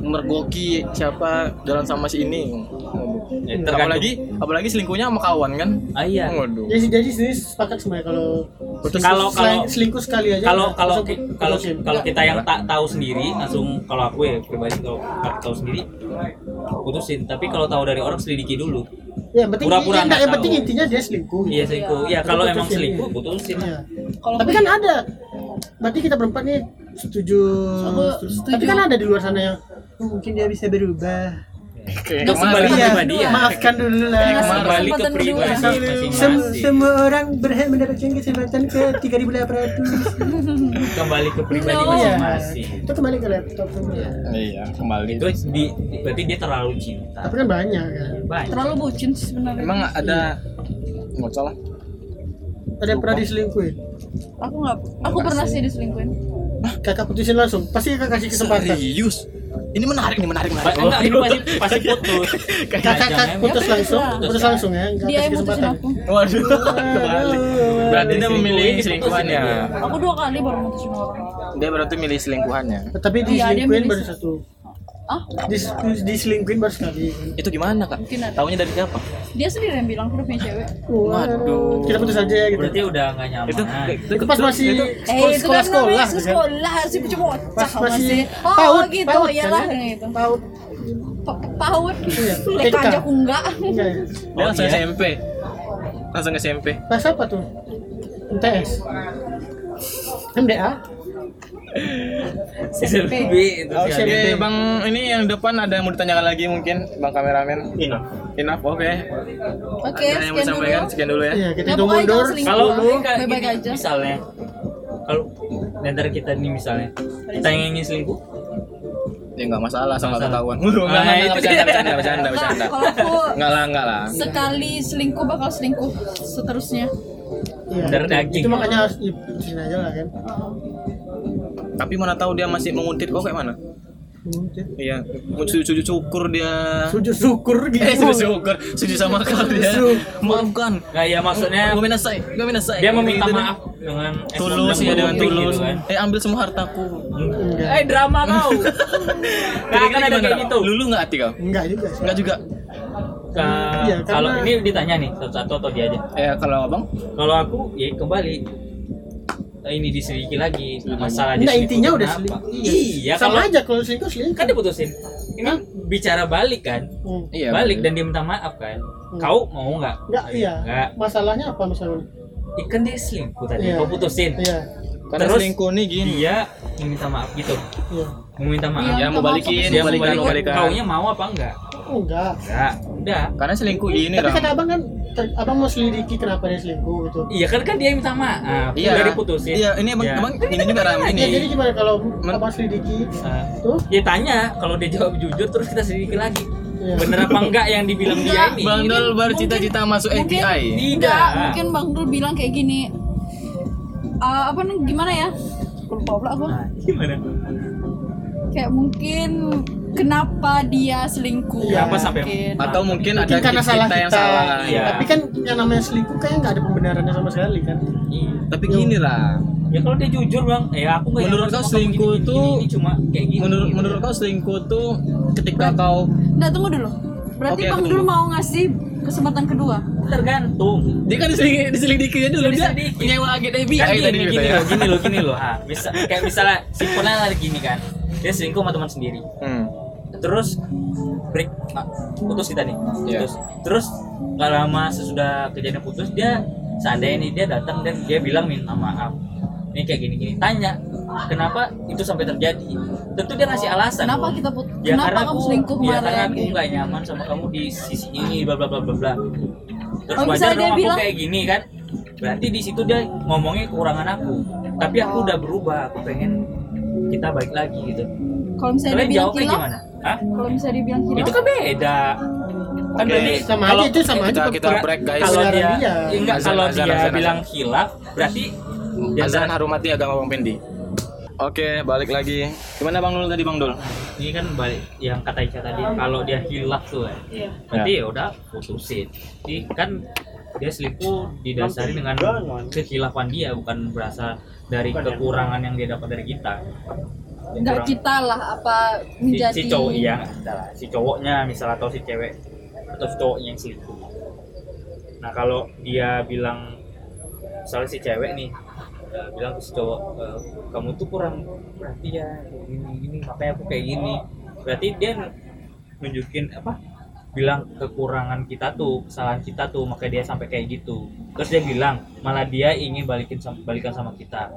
Speaker 4: mergoki siapa jalan sama si ini. Nah,
Speaker 2: Ya, tergantung.
Speaker 4: apalagi apalagi selingkuhnya sama kawan kan
Speaker 2: Ah, iya.
Speaker 4: waduh
Speaker 1: Jadi jadi Ya, sendiri sepakat sebenarnya kalau
Speaker 4: Putus.
Speaker 2: Kalau-
Speaker 1: selain
Speaker 2: kalau-
Speaker 1: selingkuh sekali aja.
Speaker 2: kalau kalau
Speaker 1: langsung
Speaker 2: ki- kalau
Speaker 1: putusin.
Speaker 2: kalau kita yang tak tahu
Speaker 4: Oh.
Speaker 2: sendiri langsung kalau aku ya pribadi kalau tak tahu sendiri putusin tapi kalau tahu dari orang selidiki dulu
Speaker 1: ya, yang penting
Speaker 2: pura-pura
Speaker 1: yang-
Speaker 2: nggak
Speaker 1: yang penting
Speaker 2: tahu.
Speaker 1: intinya dia selingkuh.
Speaker 2: iya selingkuh
Speaker 1: Iya.
Speaker 2: ya kalau
Speaker 1: Putusin,
Speaker 2: emang
Speaker 1: iya.
Speaker 2: selingkuh putusin
Speaker 1: Iya.
Speaker 3: Kalau ya-
Speaker 1: Tapi kan ada. Berarti kita berempat nih setuju.
Speaker 3: Aku setuju.
Speaker 1: Tapi kan ada di luar sana yang "Oh, mungkin dia bisa berubah.
Speaker 4: kayak
Speaker 2: Itu kembali
Speaker 1: Iya,
Speaker 2: ke pribadi ya
Speaker 1: maafkan dulu lah.
Speaker 4: Kayak
Speaker 3: Ngasih
Speaker 2: kembali ke
Speaker 3: kesempatan kedua.
Speaker 2: pribadi
Speaker 1: Sem
Speaker 2: masing-masing
Speaker 1: semua orang berhak mendapatkan kesempatan ke 3800
Speaker 2: kembali ke pribadi
Speaker 3: No.
Speaker 2: masing-masing
Speaker 1: Iya. itu kembali ke laptop semua.
Speaker 4: iya kembali
Speaker 2: itu di- berarti dia terlalu cinta
Speaker 1: tapi kan banyak kan
Speaker 2: banyak
Speaker 3: terlalu bucin sih sebenarnya
Speaker 4: emang ada nggak salah
Speaker 1: ada yang pernah diselingkuhin
Speaker 3: aku nggak aku pernah sih diselingkuhin
Speaker 1: kakak putusin langsung pasti kakak kasih kesempatan
Speaker 4: serius ini menarik nih menarik
Speaker 2: Ba-
Speaker 4: menarik
Speaker 2: enggak ini pasti pasti putus
Speaker 1: kakak kakak putus
Speaker 3: Iya,
Speaker 1: langsung
Speaker 3: iya.
Speaker 1: putus langsung ya nggak
Speaker 3: dia
Speaker 1: kasih
Speaker 3: yang putusin
Speaker 1: kesempatan
Speaker 3: aku
Speaker 4: waduh kembali berarti dia memilih
Speaker 2: Selingkuhin,
Speaker 4: selingkuhannya
Speaker 3: aku dua kali baru mutusin orang
Speaker 4: dia berarti milih selingkuhannya
Speaker 1: tapi
Speaker 3: Iya, dia
Speaker 1: diselingkuhin
Speaker 3: milih
Speaker 1: baru
Speaker 3: satu.
Speaker 1: satu
Speaker 3: ah
Speaker 1: Dis, diselingkuhin baru sekali
Speaker 4: itu gimana kak
Speaker 3: Mungkin ada.
Speaker 4: tahunya dari siapa
Speaker 3: dia sendiri yang bilang aku udah punya cewek
Speaker 1: waduh kita putus aja gitu
Speaker 2: berarti udah nggak nyaman
Speaker 4: itu
Speaker 1: itu pas masih
Speaker 4: itu
Speaker 1: sekolah sekolah sekolah
Speaker 3: Eh, kan
Speaker 1: gitu kan.
Speaker 3: namanya sekolah sih cuma
Speaker 1: pas
Speaker 3: otak
Speaker 1: masih
Speaker 3: masih oh
Speaker 1: paut
Speaker 3: gitu
Speaker 1: paut
Speaker 3: ya
Speaker 1: kan
Speaker 3: lah
Speaker 1: ya?
Speaker 3: gitu
Speaker 1: paut
Speaker 3: Pa- paut
Speaker 1: Iya,
Speaker 3: lek
Speaker 1: TK.
Speaker 3: aja aku enggak
Speaker 1: enggak ya
Speaker 4: dia langsung
Speaker 2: Oh, iya.
Speaker 4: SMP langsung SMP
Speaker 1: Pas apa tuh? MTS. MDA?
Speaker 2: SMP itu
Speaker 4: Oke
Speaker 2: sih ada.
Speaker 4: deh, Bang ini yang depan ada yang mau ditanyakan lagi mungkin Bang kameramen
Speaker 5: Ina.
Speaker 4: Enough, oke
Speaker 3: oke
Speaker 4: Ada yang
Speaker 3: sekian dulu
Speaker 4: mau disampaikan, sekian dulu ya
Speaker 1: Iya,
Speaker 3: Ya,
Speaker 1: kita hitung
Speaker 3: pokoknya
Speaker 1: mundur.
Speaker 3: jangan selingkuh.
Speaker 2: kalau
Speaker 3: Selingkuh,
Speaker 2: lu kan
Speaker 3: baik- baik-baik aja.
Speaker 2: misalnya kalau diantara kita nih misalnya kita yang ingin selingkuh
Speaker 4: Ya nggak masalah, sama
Speaker 2: Nggak
Speaker 4: ketahuan Wuh, nggak, nggak, nggak,
Speaker 2: itu
Speaker 4: bercanda,
Speaker 2: dia.
Speaker 4: bercanda, bercanda,
Speaker 3: Enggak,
Speaker 4: bercanda
Speaker 3: kalau aku
Speaker 4: Nggak lah, nggak lah
Speaker 3: sekali selingkuh bakal selingkuh seterusnya
Speaker 1: Iya.
Speaker 2: Bener
Speaker 1: Itu
Speaker 2: daging.
Speaker 1: makanya harus diputusin aja lah kan.
Speaker 4: Tapi mana tahu dia masih menguntit kok kayak mana? Iya, sujud sujud syukur dia
Speaker 1: Sujud syukur gitu.
Speaker 4: Eh, sujud syukur, sujud sama kau dia
Speaker 1: Sujud.
Speaker 4: Maafkan
Speaker 2: nggak ya maksudnya
Speaker 4: Gue minasai, gue minasai
Speaker 2: dia meminta maaf dengan
Speaker 4: Tulus,
Speaker 2: emosi
Speaker 4: ya dengan
Speaker 2: yang berlebih
Speaker 4: tulus
Speaker 2: gitu kan.
Speaker 4: Eh, ambil semua hartaku
Speaker 1: Enggak.
Speaker 2: eh drama kau nggak akan ada kayak gitu
Speaker 4: Lulu nggak hati kau?
Speaker 1: Enggak juga sih.
Speaker 4: Nggak juga
Speaker 2: Ka-
Speaker 1: Iya,
Speaker 2: kalau
Speaker 1: karena-
Speaker 2: ini ditanya nih satu-satu atau dia aja
Speaker 4: Eh, kalau abang?
Speaker 2: kalau aku ya kembali Eh, ini diselidiki lagi masalah
Speaker 1: Enggak Iya.
Speaker 2: diselidiki
Speaker 1: Nah, intinya udah
Speaker 2: kenapa.
Speaker 1: selingkuh.
Speaker 2: iya
Speaker 1: Sama
Speaker 2: kalau
Speaker 1: aja kalau selingkuh selingkuh.
Speaker 2: kan diputusin ini bicara balik kan
Speaker 1: Hmm.
Speaker 4: Iya
Speaker 2: balik
Speaker 4: bener.
Speaker 2: dan dia minta maaf kan kau mau nggak
Speaker 1: Enggak, Hmm. iya.
Speaker 2: nggak
Speaker 1: Masalahnya apa misalnya?
Speaker 2: ikan dia selingkuh tadi
Speaker 1: Iya.
Speaker 2: kau putusin
Speaker 1: Iya.
Speaker 4: Karena
Speaker 2: Terus- Iya.
Speaker 4: selingkuh nih gini
Speaker 2: dia minta maaf gitu
Speaker 1: Iya.
Speaker 2: meminta maaf
Speaker 3: Iya,
Speaker 4: Ya mau balikin,
Speaker 2: dia
Speaker 4: mau
Speaker 2: mau balik
Speaker 4: balikan, mau kan? balikan
Speaker 2: kaunya mau apa enggak
Speaker 1: Oh, enggak.
Speaker 2: enggak udah
Speaker 4: Karena selingkuh gini
Speaker 1: Tapi
Speaker 4: Ram
Speaker 1: kata abang kan ter- abang mau selidiki kenapa dia selingkuh gitu.
Speaker 2: iya kan kan dia minta maaf
Speaker 4: Iya
Speaker 2: udah diputusin
Speaker 4: Iya, ini abang,
Speaker 2: Ya.
Speaker 4: abang ini juga Ram ini
Speaker 1: Ya, jadi gimana kalau abang selidiki
Speaker 2: Ah.
Speaker 1: tuh?
Speaker 2: dia tanya kalau dia jawab jujur terus kita sedikit lagi
Speaker 1: Iya.
Speaker 2: bener apa enggak yang dibilang dia ini
Speaker 4: Bang Dol baru
Speaker 3: Mungkin-
Speaker 4: cita-cita masuk
Speaker 3: mungkin-
Speaker 4: FBI
Speaker 3: Enggak,
Speaker 2: tidak
Speaker 3: mungkin Bang Dul bilang kayak gini. "Eh, apa nih gimana ya? Lupa pula aku.
Speaker 2: Nah, gimana
Speaker 3: Kayak mungkin kenapa dia selingkuh?
Speaker 1: Iya,
Speaker 2: apa sampai-
Speaker 3: mungkin.
Speaker 4: Atau mungkin ada
Speaker 1: Mungkin karena
Speaker 4: kita,
Speaker 1: salah
Speaker 4: yang
Speaker 1: kita.
Speaker 4: salah
Speaker 2: Iya.
Speaker 1: Tapi kan yang namanya selingkuh kayaknya nggak ada pembenarannya sama sekali kan.
Speaker 2: Iya.
Speaker 4: Tapi gini lah
Speaker 2: ya kalau dia jujur bang ya aku nggak
Speaker 4: Menurut
Speaker 2: yakin
Speaker 4: kau
Speaker 2: sama
Speaker 4: selingkuh
Speaker 2: kamu gini,
Speaker 4: tuh-
Speaker 2: gini, ini cuma kayak gini
Speaker 4: Menurut
Speaker 2: gitu.
Speaker 4: menurut kau selingkuh tuh ketika kau
Speaker 3: Nah, tunggu dulu. Berarti
Speaker 4: Oke,
Speaker 3: Bang
Speaker 4: aku
Speaker 3: Dul
Speaker 4: tunggu.
Speaker 3: mau ngasih kesempatan kedua.
Speaker 2: tergantung
Speaker 4: dia kan diseling- diselidikinya dulu dia
Speaker 2: Diselidiki.
Speaker 4: nyewa agen FBI
Speaker 2: kan
Speaker 4: tadi
Speaker 2: gini, gini
Speaker 4: gitu ya.
Speaker 2: loh gini loh gini loh ah bisa kayak misalnya simpelnya lagi gini kan dia selingkuh sama teman sendiri
Speaker 4: Hmm.
Speaker 2: terus break ah, putus kita nih
Speaker 4: Iya.
Speaker 2: putus terus nggak lama sesudah kejadian putus dia seandainya nih dia datang dan dia bilang minta maaf ini kayak gini gini tanya kenapa itu sampai terjadi tentu dia ngasih alasan
Speaker 3: Kenapa
Speaker 2: dong.
Speaker 3: kita put-
Speaker 2: ya
Speaker 3: kenapa
Speaker 2: karena
Speaker 3: kamu
Speaker 2: aku-
Speaker 3: selingkuh
Speaker 2: ya
Speaker 3: kemarin?
Speaker 2: karena aku
Speaker 3: Gitu.
Speaker 2: nggak nyaman sama kamu di sisi ini bla bla bla bla bla terus
Speaker 3: Oh,
Speaker 2: wajar
Speaker 3: misalnya
Speaker 2: dong
Speaker 3: dia
Speaker 2: aku
Speaker 3: bilang-
Speaker 2: kayak gini kan berarti di situ dia ngomongnya kekurangan aku tapi aku
Speaker 3: Oh.
Speaker 2: udah berubah aku pengen kita baik lagi gitu
Speaker 3: Kalau misalnya dia
Speaker 2: kalian
Speaker 3: bilang
Speaker 2: jawabnya
Speaker 3: hilaf,
Speaker 2: gimana Hah?
Speaker 3: kalau misalnya dia bilang hilaf,
Speaker 2: itu kan beda kan
Speaker 4: Oke.
Speaker 2: berarti
Speaker 1: Sama
Speaker 2: kalau- eh,
Speaker 1: aja itu sama aja.
Speaker 4: Kita kita
Speaker 2: Pra-
Speaker 4: break guys.
Speaker 2: kalau dia,
Speaker 1: Azan, azan.
Speaker 2: Iya, enggak
Speaker 4: Azan,
Speaker 2: kalau
Speaker 4: azan,
Speaker 2: dia
Speaker 4: azan,
Speaker 2: bilang hilaf berarti dia
Speaker 4: Azan harumati agama Bang Pendi. Oke, balik lagi. Gimana Bang Dul tadi Bang Dul?
Speaker 2: ini kan balik yang kata Ica tadi kalau dia hilaf tuh ya
Speaker 3: iya.
Speaker 2: berarti ya udah putusin jadi kan dia selingkuh didasari dengan kekhilafan dia bukan berasal dari kekurangan yang dia dapat dari kita
Speaker 3: Enggak
Speaker 2: Kurang-
Speaker 3: kita lah apa
Speaker 2: si, iya.
Speaker 3: menjadi
Speaker 2: si cowok iya nggak kita lah. si cowoknya misal atau si cewek atau cowoknya yang selingkuh nah kalau dia bilang misalnya si cewek nih eh, bilang ke si cowok eh, kamu tuh kurang perhatian gini gini makanya aku kayak gini berarti dia nunjukin apa bilang kekurangan kita tuh kesalahan kita tuh makanya dia sampai kayak gitu terus dia bilang malah dia ingin balikin sama, balikan sama kita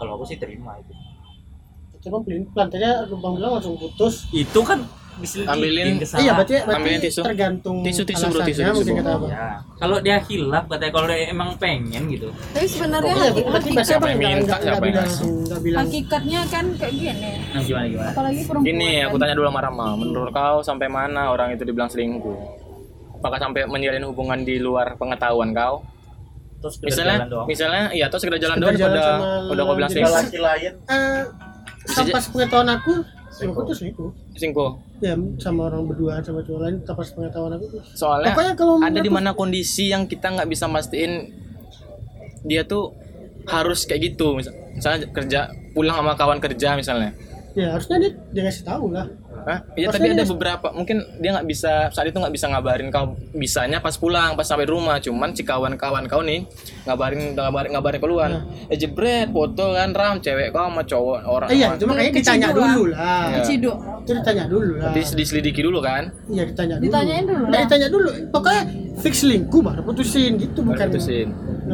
Speaker 2: kalau aku sih terima itu
Speaker 1: Cuma pelin pelan tadi Bang bilang langsung putus.
Speaker 2: itu kan diselidikin
Speaker 4: Ambilin-
Speaker 2: kesalahan.
Speaker 1: Iya, berarti, berarti
Speaker 4: Ambilin tisu.
Speaker 1: tergantung
Speaker 4: Tisu, tisu, bro, tisu,
Speaker 1: alasannya,
Speaker 4: tisu,
Speaker 1: mungkin
Speaker 4: bro.
Speaker 1: kata Abang.
Speaker 2: Ya. Kalau dia hilaf katanya kalau dia emang pengen gitu.
Speaker 3: tapi sebenarnya
Speaker 1: Iya,
Speaker 3: haki-
Speaker 1: berarti bahasa
Speaker 4: Siapa
Speaker 1: apa
Speaker 4: yang
Speaker 1: enggak
Speaker 4: minta,
Speaker 1: enggak
Speaker 4: siapa yang
Speaker 1: bilang
Speaker 4: ngasih?
Speaker 1: enggak bilang. "Eh,
Speaker 3: hakikatnya kan kayak gini
Speaker 2: Nah, gimana gimana?
Speaker 3: apalagi perempuan
Speaker 4: Gini, aku
Speaker 3: kan.
Speaker 4: tanya dulu sama Rama. Menurut kau sampai mana orang itu dibilang selingkuh? Apakah sampai menjalin hubungan di luar pengetahuan kau?
Speaker 2: Terus kita
Speaker 4: Misalnya,
Speaker 2: jalan doang.
Speaker 4: misalnya, iya, terus sekedar jalan
Speaker 1: Sekedar
Speaker 4: doang
Speaker 1: jalan
Speaker 4: udah,
Speaker 1: sama
Speaker 4: udah kau bilang
Speaker 1: jadi
Speaker 4: selingkuh.
Speaker 5: laki lain
Speaker 1: Eh,
Speaker 4: Bisa
Speaker 1: tanpa sepengetahuan aku, aku tuh selingkuh.
Speaker 4: Selingkuh.
Speaker 1: Ya sama orang berdua sama cowok lain tanpa sepengetahuan aku. tuh.
Speaker 4: Soalnya
Speaker 1: Pokoknya kalau
Speaker 4: ada
Speaker 1: menurut
Speaker 4: di mana kondisi yang kita nggak bisa mastiin dia tuh harus kayak gitu. Misal- Misalnya kerja pulang sama kawan kerja misalnya.
Speaker 1: Ya harusnya dia dia ngasih tahu lah.
Speaker 4: Hah? Iya tapi
Speaker 1: Maksudnya
Speaker 4: ada
Speaker 1: dia-
Speaker 4: beberapa mungkin dia nggak bisa saat itu nggak bisa ngabarin kau bisanya pas pulang pas sampai rumah cuman si kawan-kawan kau nih ngabarin ngabarin ngabarin keluar eh jebret foto kan ram cewek kau sama cowok orang
Speaker 1: Eh, iya,
Speaker 4: sama-
Speaker 1: itu makanya
Speaker 3: Kecil
Speaker 1: ditanya
Speaker 3: dulu
Speaker 1: dulu lah.
Speaker 4: Iya.
Speaker 3: Ciduk.
Speaker 1: Itu ditanya dulu lah.
Speaker 4: Dis- diselidiki dulu kan
Speaker 1: Iya, ditanya dulu.
Speaker 3: Ditanyain dulu
Speaker 1: Nah,
Speaker 3: lah.
Speaker 1: ditanya dulu. Pokoknya fix lingkuh baru putusin gitu bukan.
Speaker 4: baru putusin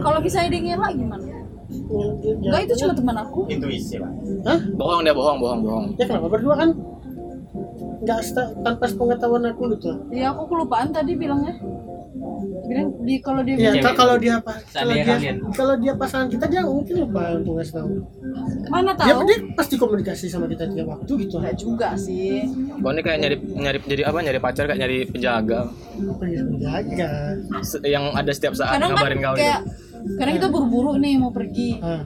Speaker 3: kalau misalnya dia ngelak gimana enggak
Speaker 1: Enggak
Speaker 3: itu cuma teman aku
Speaker 5: intuisi lah
Speaker 1: Hah?
Speaker 4: bohong dia bohong bohong bohong
Speaker 1: Ya kenapa berdua kan enggak seta- tanpa sepengetahuan aku gitu.
Speaker 3: ya aku kelupaan tadi bilangnya bilang di kalau dia
Speaker 1: Iya,
Speaker 2: Cewek.
Speaker 1: kalau dia apa? Kalau
Speaker 2: Seandainya
Speaker 1: dia
Speaker 2: kalian.
Speaker 1: kalau dia pasangan kita dia mungkin lupa untuk ngasih tahu.
Speaker 3: mana
Speaker 1: Dia,
Speaker 3: tahu
Speaker 1: Iya, dia pasti komunikasi sama kita tiap waktu gitu.
Speaker 3: enggak juga sih
Speaker 4: kau ini kayak nyari nyari jadi apa nyari pacar kayak nyari penjaga
Speaker 1: Pengen menjaga.
Speaker 4: Se- yang ada setiap saat
Speaker 3: kadang kan
Speaker 4: ngabarin kau gitu.
Speaker 3: kayak
Speaker 4: itu
Speaker 3: kadang kita buru-buru nih mau pergi
Speaker 1: Nah,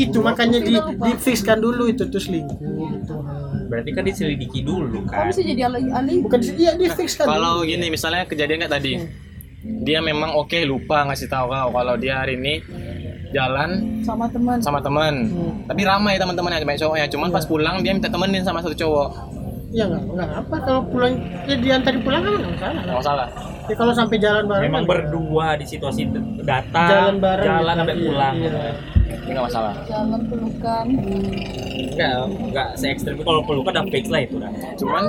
Speaker 1: itu makanya di,
Speaker 3: Kita lupa.
Speaker 1: difixkan dulu itu terus lingkuh gitu. Nah.
Speaker 2: Berarti kan diselidiki dulu
Speaker 3: kok
Speaker 2: kan.
Speaker 3: bisa jadi alih alih
Speaker 1: Bukan di- iya difixkan.
Speaker 4: kalau
Speaker 1: dulu.
Speaker 4: gini misalnya kejadian kayak
Speaker 1: Iya.
Speaker 4: tadi dia memang oke lupa ngasih tahu kau kalau dia hari ini jalan
Speaker 3: sama teman
Speaker 4: sama teman
Speaker 1: Hmm. Iya.
Speaker 4: tapi ramai teman-temannya banyak cowoknya cuman pas pulang dia minta temenin sama satu cowok
Speaker 1: Ya nggak nggak apa kalau pulang ya diantarin pulang kan nggak salah.
Speaker 4: nggak masalah
Speaker 1: Ya kalau sampai jalan bareng.
Speaker 2: Oh. Memang
Speaker 1: kan-
Speaker 2: berdua di situasi datang,
Speaker 1: Jalan bareng.
Speaker 2: jalan
Speaker 1: gitu.
Speaker 2: sampai
Speaker 1: Iya,
Speaker 2: pulang.
Speaker 1: iya.
Speaker 4: ini nggak masalah
Speaker 3: jalan pelukan
Speaker 2: Enggak, enggak se ekstrem kalau perlu kan udah fix lah itu kan.
Speaker 4: cuman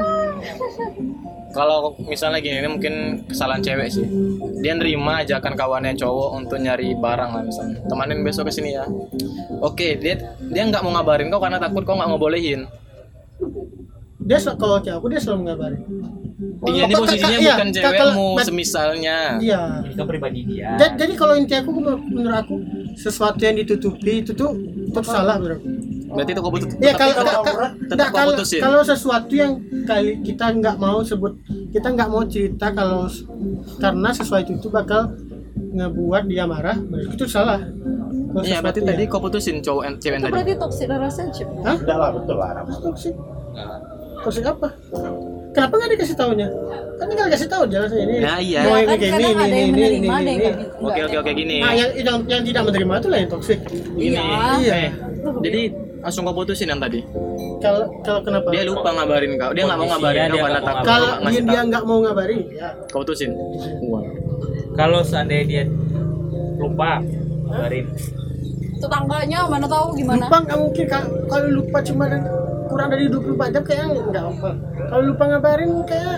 Speaker 4: kalau misalnya gini ini mungkin kesalahan cewek sih dia nerima ajakan kawannya cowok untuk nyari barang lah misalnya temanin besok ke sini ya oke dia dia nggak mau ngabarin kau karena takut kau nggak ngebolehin
Speaker 1: Dia sel- kalau kayak aku dia selalu ngabarin. Kok-
Speaker 4: dia ini
Speaker 1: kok-
Speaker 4: posisinya
Speaker 1: iya,
Speaker 4: bukan
Speaker 1: kak-
Speaker 4: cewekmu
Speaker 1: kalau-
Speaker 4: semisalnya
Speaker 1: Iya.
Speaker 2: Jadi kan pribadi dia.
Speaker 1: Ja- Jadi kalau inti aku menur- menurut aku sesuatu yang ditutupi itu tuh tetap salah Iya, menurut aku.
Speaker 4: berarti itu kau butuh
Speaker 1: Ya
Speaker 4: tetap-
Speaker 1: kalau kalau- kalau-
Speaker 4: tetap
Speaker 1: nggak,
Speaker 4: kau
Speaker 1: kalau
Speaker 4: putusin.
Speaker 1: kalau sesuatu yang kali kita nggak mau sebut kita nggak mau cerita kalau s- karena sesuatu itu bakal ngebuat dia marah menurut aku itu salah. Kalau
Speaker 4: iya berarti
Speaker 1: sesuatu
Speaker 4: tadi
Speaker 1: yang-
Speaker 4: kau putusin cowok yang- cewek yang
Speaker 3: itu
Speaker 4: tadi
Speaker 3: berarti toxic relationship
Speaker 1: Hah?
Speaker 5: udah lah betul lah Ram.
Speaker 1: Terus toksik. Toksik apa? Kenapa nggak dikasih taunya? Kan tinggal kasih tahu jalan ini.
Speaker 4: Nah, iya.
Speaker 1: Oh, ini
Speaker 3: ya kan
Speaker 1: kayak ini,
Speaker 3: kadang ada
Speaker 1: ini, ini,
Speaker 3: yang
Speaker 1: ini,
Speaker 3: menerima ada
Speaker 1: ini,
Speaker 3: yang
Speaker 1: ini.
Speaker 3: nggak gitu
Speaker 4: oke oke oke gini
Speaker 1: Nah, yang, yang yang tidak menerima itu lah yang toksik.
Speaker 4: Gini.
Speaker 3: iya
Speaker 1: Iya.
Speaker 4: Jadi langsung kau putusin yang tadi.
Speaker 1: Kalau kalau iya, kenapa?
Speaker 4: Dia lupa ngabarin kau. Dia nggak mau
Speaker 2: Kondisi
Speaker 4: ngabarin
Speaker 2: dia, dia
Speaker 4: kau karena
Speaker 2: nggak mau
Speaker 4: takut
Speaker 1: kalau
Speaker 4: kau
Speaker 1: dia,
Speaker 4: ngasih
Speaker 1: dia
Speaker 4: tahu.
Speaker 1: nggak mau ngabarin, ya.
Speaker 4: Kau putusin.
Speaker 2: Kalau seandainya dia lupa ngabarin
Speaker 3: tetangganya mana tahu gimana
Speaker 1: Lupa nggak mungkin Kak. kalau lupa cuma dari- kurang dari 24 jam kayaknya nggak apa. Kalau lupa ngabarin kayak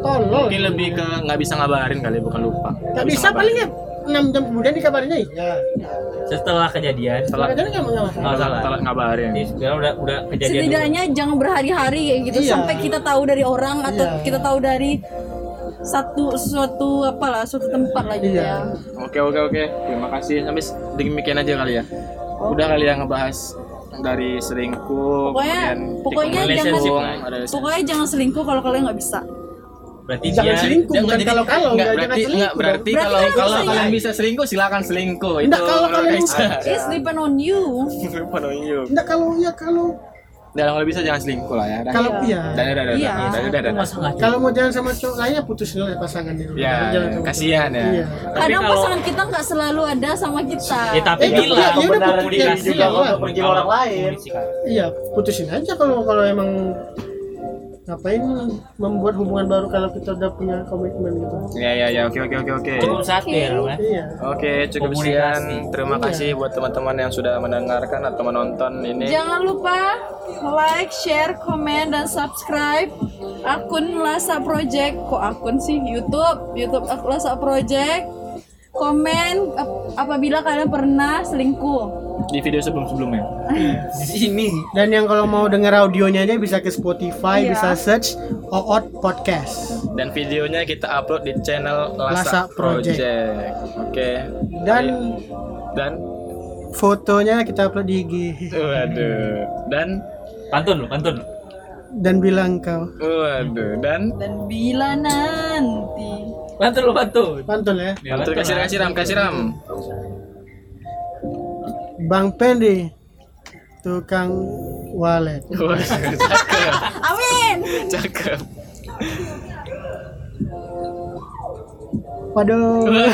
Speaker 1: tolol.
Speaker 4: Mungkin lebih ke nggak bisa ngabarin kali bukan lupa.
Speaker 1: Nggak bisa paling ya 6 jam kemudian dikabarinnya. Ya.
Speaker 2: setelah kejadian,
Speaker 4: Setelah
Speaker 1: Kadang-kadang nggak mau ngabarin.
Speaker 4: telat
Speaker 2: salah.
Speaker 4: telat ngabarin.
Speaker 1: Iya.
Speaker 2: jadi sebenarnya udah udah kejadian dulu.
Speaker 3: setidaknya jangan berhari-hari kayak gitu
Speaker 1: Iya.
Speaker 3: sampai kita tahu dari orang atau
Speaker 1: Iya.
Speaker 3: kita tahu dari satu suatu apalah suatu tempat lah gitu
Speaker 1: Iya.
Speaker 3: ya
Speaker 4: Oke oke oke. Terima kasih. Sampai s- demikian aja kali ya.
Speaker 1: Oh.
Speaker 4: Udah kali ya ngebahas dari selingkuh.
Speaker 3: Pokoknya- pokoknya
Speaker 2: jangan-
Speaker 3: pokoknya jangan selingkuh kalau kalian nggak bisa
Speaker 2: Berarti
Speaker 1: Jangan
Speaker 2: dia
Speaker 1: selingkuh, bukan kalau-kalau,
Speaker 4: Enggak
Speaker 1: nggak jangan
Speaker 4: berarti enggak
Speaker 1: selingkuh.
Speaker 4: berarti
Speaker 3: Berarti
Speaker 4: kalau
Speaker 3: kalian
Speaker 4: kalau
Speaker 3: bisa
Speaker 4: kalian bisa selingkuh silakan selingkuh. Itu
Speaker 1: Nggak, kalau
Speaker 4: menurut
Speaker 1: kalian-
Speaker 4: Aisyah.
Speaker 3: it's depend on you
Speaker 4: Lupa dong, yuk.
Speaker 1: Nggak kalau ya kalau
Speaker 4: Udah, kalau bisa jangan selingkuh lah ya. Udah.
Speaker 1: kalau iya.
Speaker 4: Udah, udah, udah,
Speaker 3: Iya.
Speaker 4: udah, udah, udah, udah.
Speaker 2: masalah.
Speaker 1: Kalau mau jalan sama cowok lain ya putus dulu ya pasangan dulu.
Speaker 4: Ya,
Speaker 1: Jangan jalan sama-
Speaker 4: kasihan ya.
Speaker 1: Iya.
Speaker 2: Tapi
Speaker 3: kadang
Speaker 2: kalau-
Speaker 3: pasangan kita nggak selalu ada sama kita
Speaker 2: Ya
Speaker 5: Iya,
Speaker 2: tapi
Speaker 1: Ya,
Speaker 2: bilang
Speaker 1: ya, ya udah,
Speaker 2: komunikasi
Speaker 1: ya, ya,
Speaker 2: kalau
Speaker 1: ya.
Speaker 2: komunikasi
Speaker 5: Orang lain.
Speaker 2: komunikasi.
Speaker 1: Iya, putusin aja kalau kalau emang ngapain membuat hubungan baru kalau kita udah punya komitmen gitu
Speaker 4: Ya ya ya, oke oke oke oke.
Speaker 2: cukup satu ya Ram, ya
Speaker 1: iya
Speaker 4: Oke, cukup sekian. Terima kasih buat teman-teman yang sudah mendengarkan atau menonton ini.
Speaker 3: Jangan lupa like, share, komen, dan subscribe akun Lasa Project. Kok akun sih YouTube? YouTube ak- Lasa Project. Komen ap- apabila kalian pernah selingkuh.
Speaker 4: Di video sebelum-sebelumnya.
Speaker 2: di sini
Speaker 1: dan yang kalau mau denger audionya aja bisa ke Spotify
Speaker 3: Iya.
Speaker 1: bisa search Oot Podcast
Speaker 4: Dan videonya kita upload di channel
Speaker 1: Lasa
Speaker 4: Lasa,
Speaker 1: Project.
Speaker 4: Project. Oke.
Speaker 1: dan
Speaker 4: Iya. Dan
Speaker 1: fotonya kita upload di IG
Speaker 4: waduh. Dan
Speaker 2: pantun lu pantun lu
Speaker 1: dan bilang kau
Speaker 4: waduh. Dan
Speaker 3: Dan bila nanti
Speaker 2: pantun lu pantun
Speaker 1: pantun ya
Speaker 2: Ya,
Speaker 4: Bantu kasih
Speaker 2: lah.
Speaker 4: kasih ram kasih ram.
Speaker 1: Bang Pendi tukang walet
Speaker 4: Waduh, cakep,
Speaker 3: Amin.
Speaker 4: cakep.
Speaker 1: waduh
Speaker 3: Iya.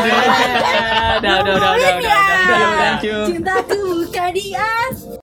Speaker 2: udah udah udah udah udah udah udah
Speaker 4: Thank you.
Speaker 3: Cintaku bukan di as.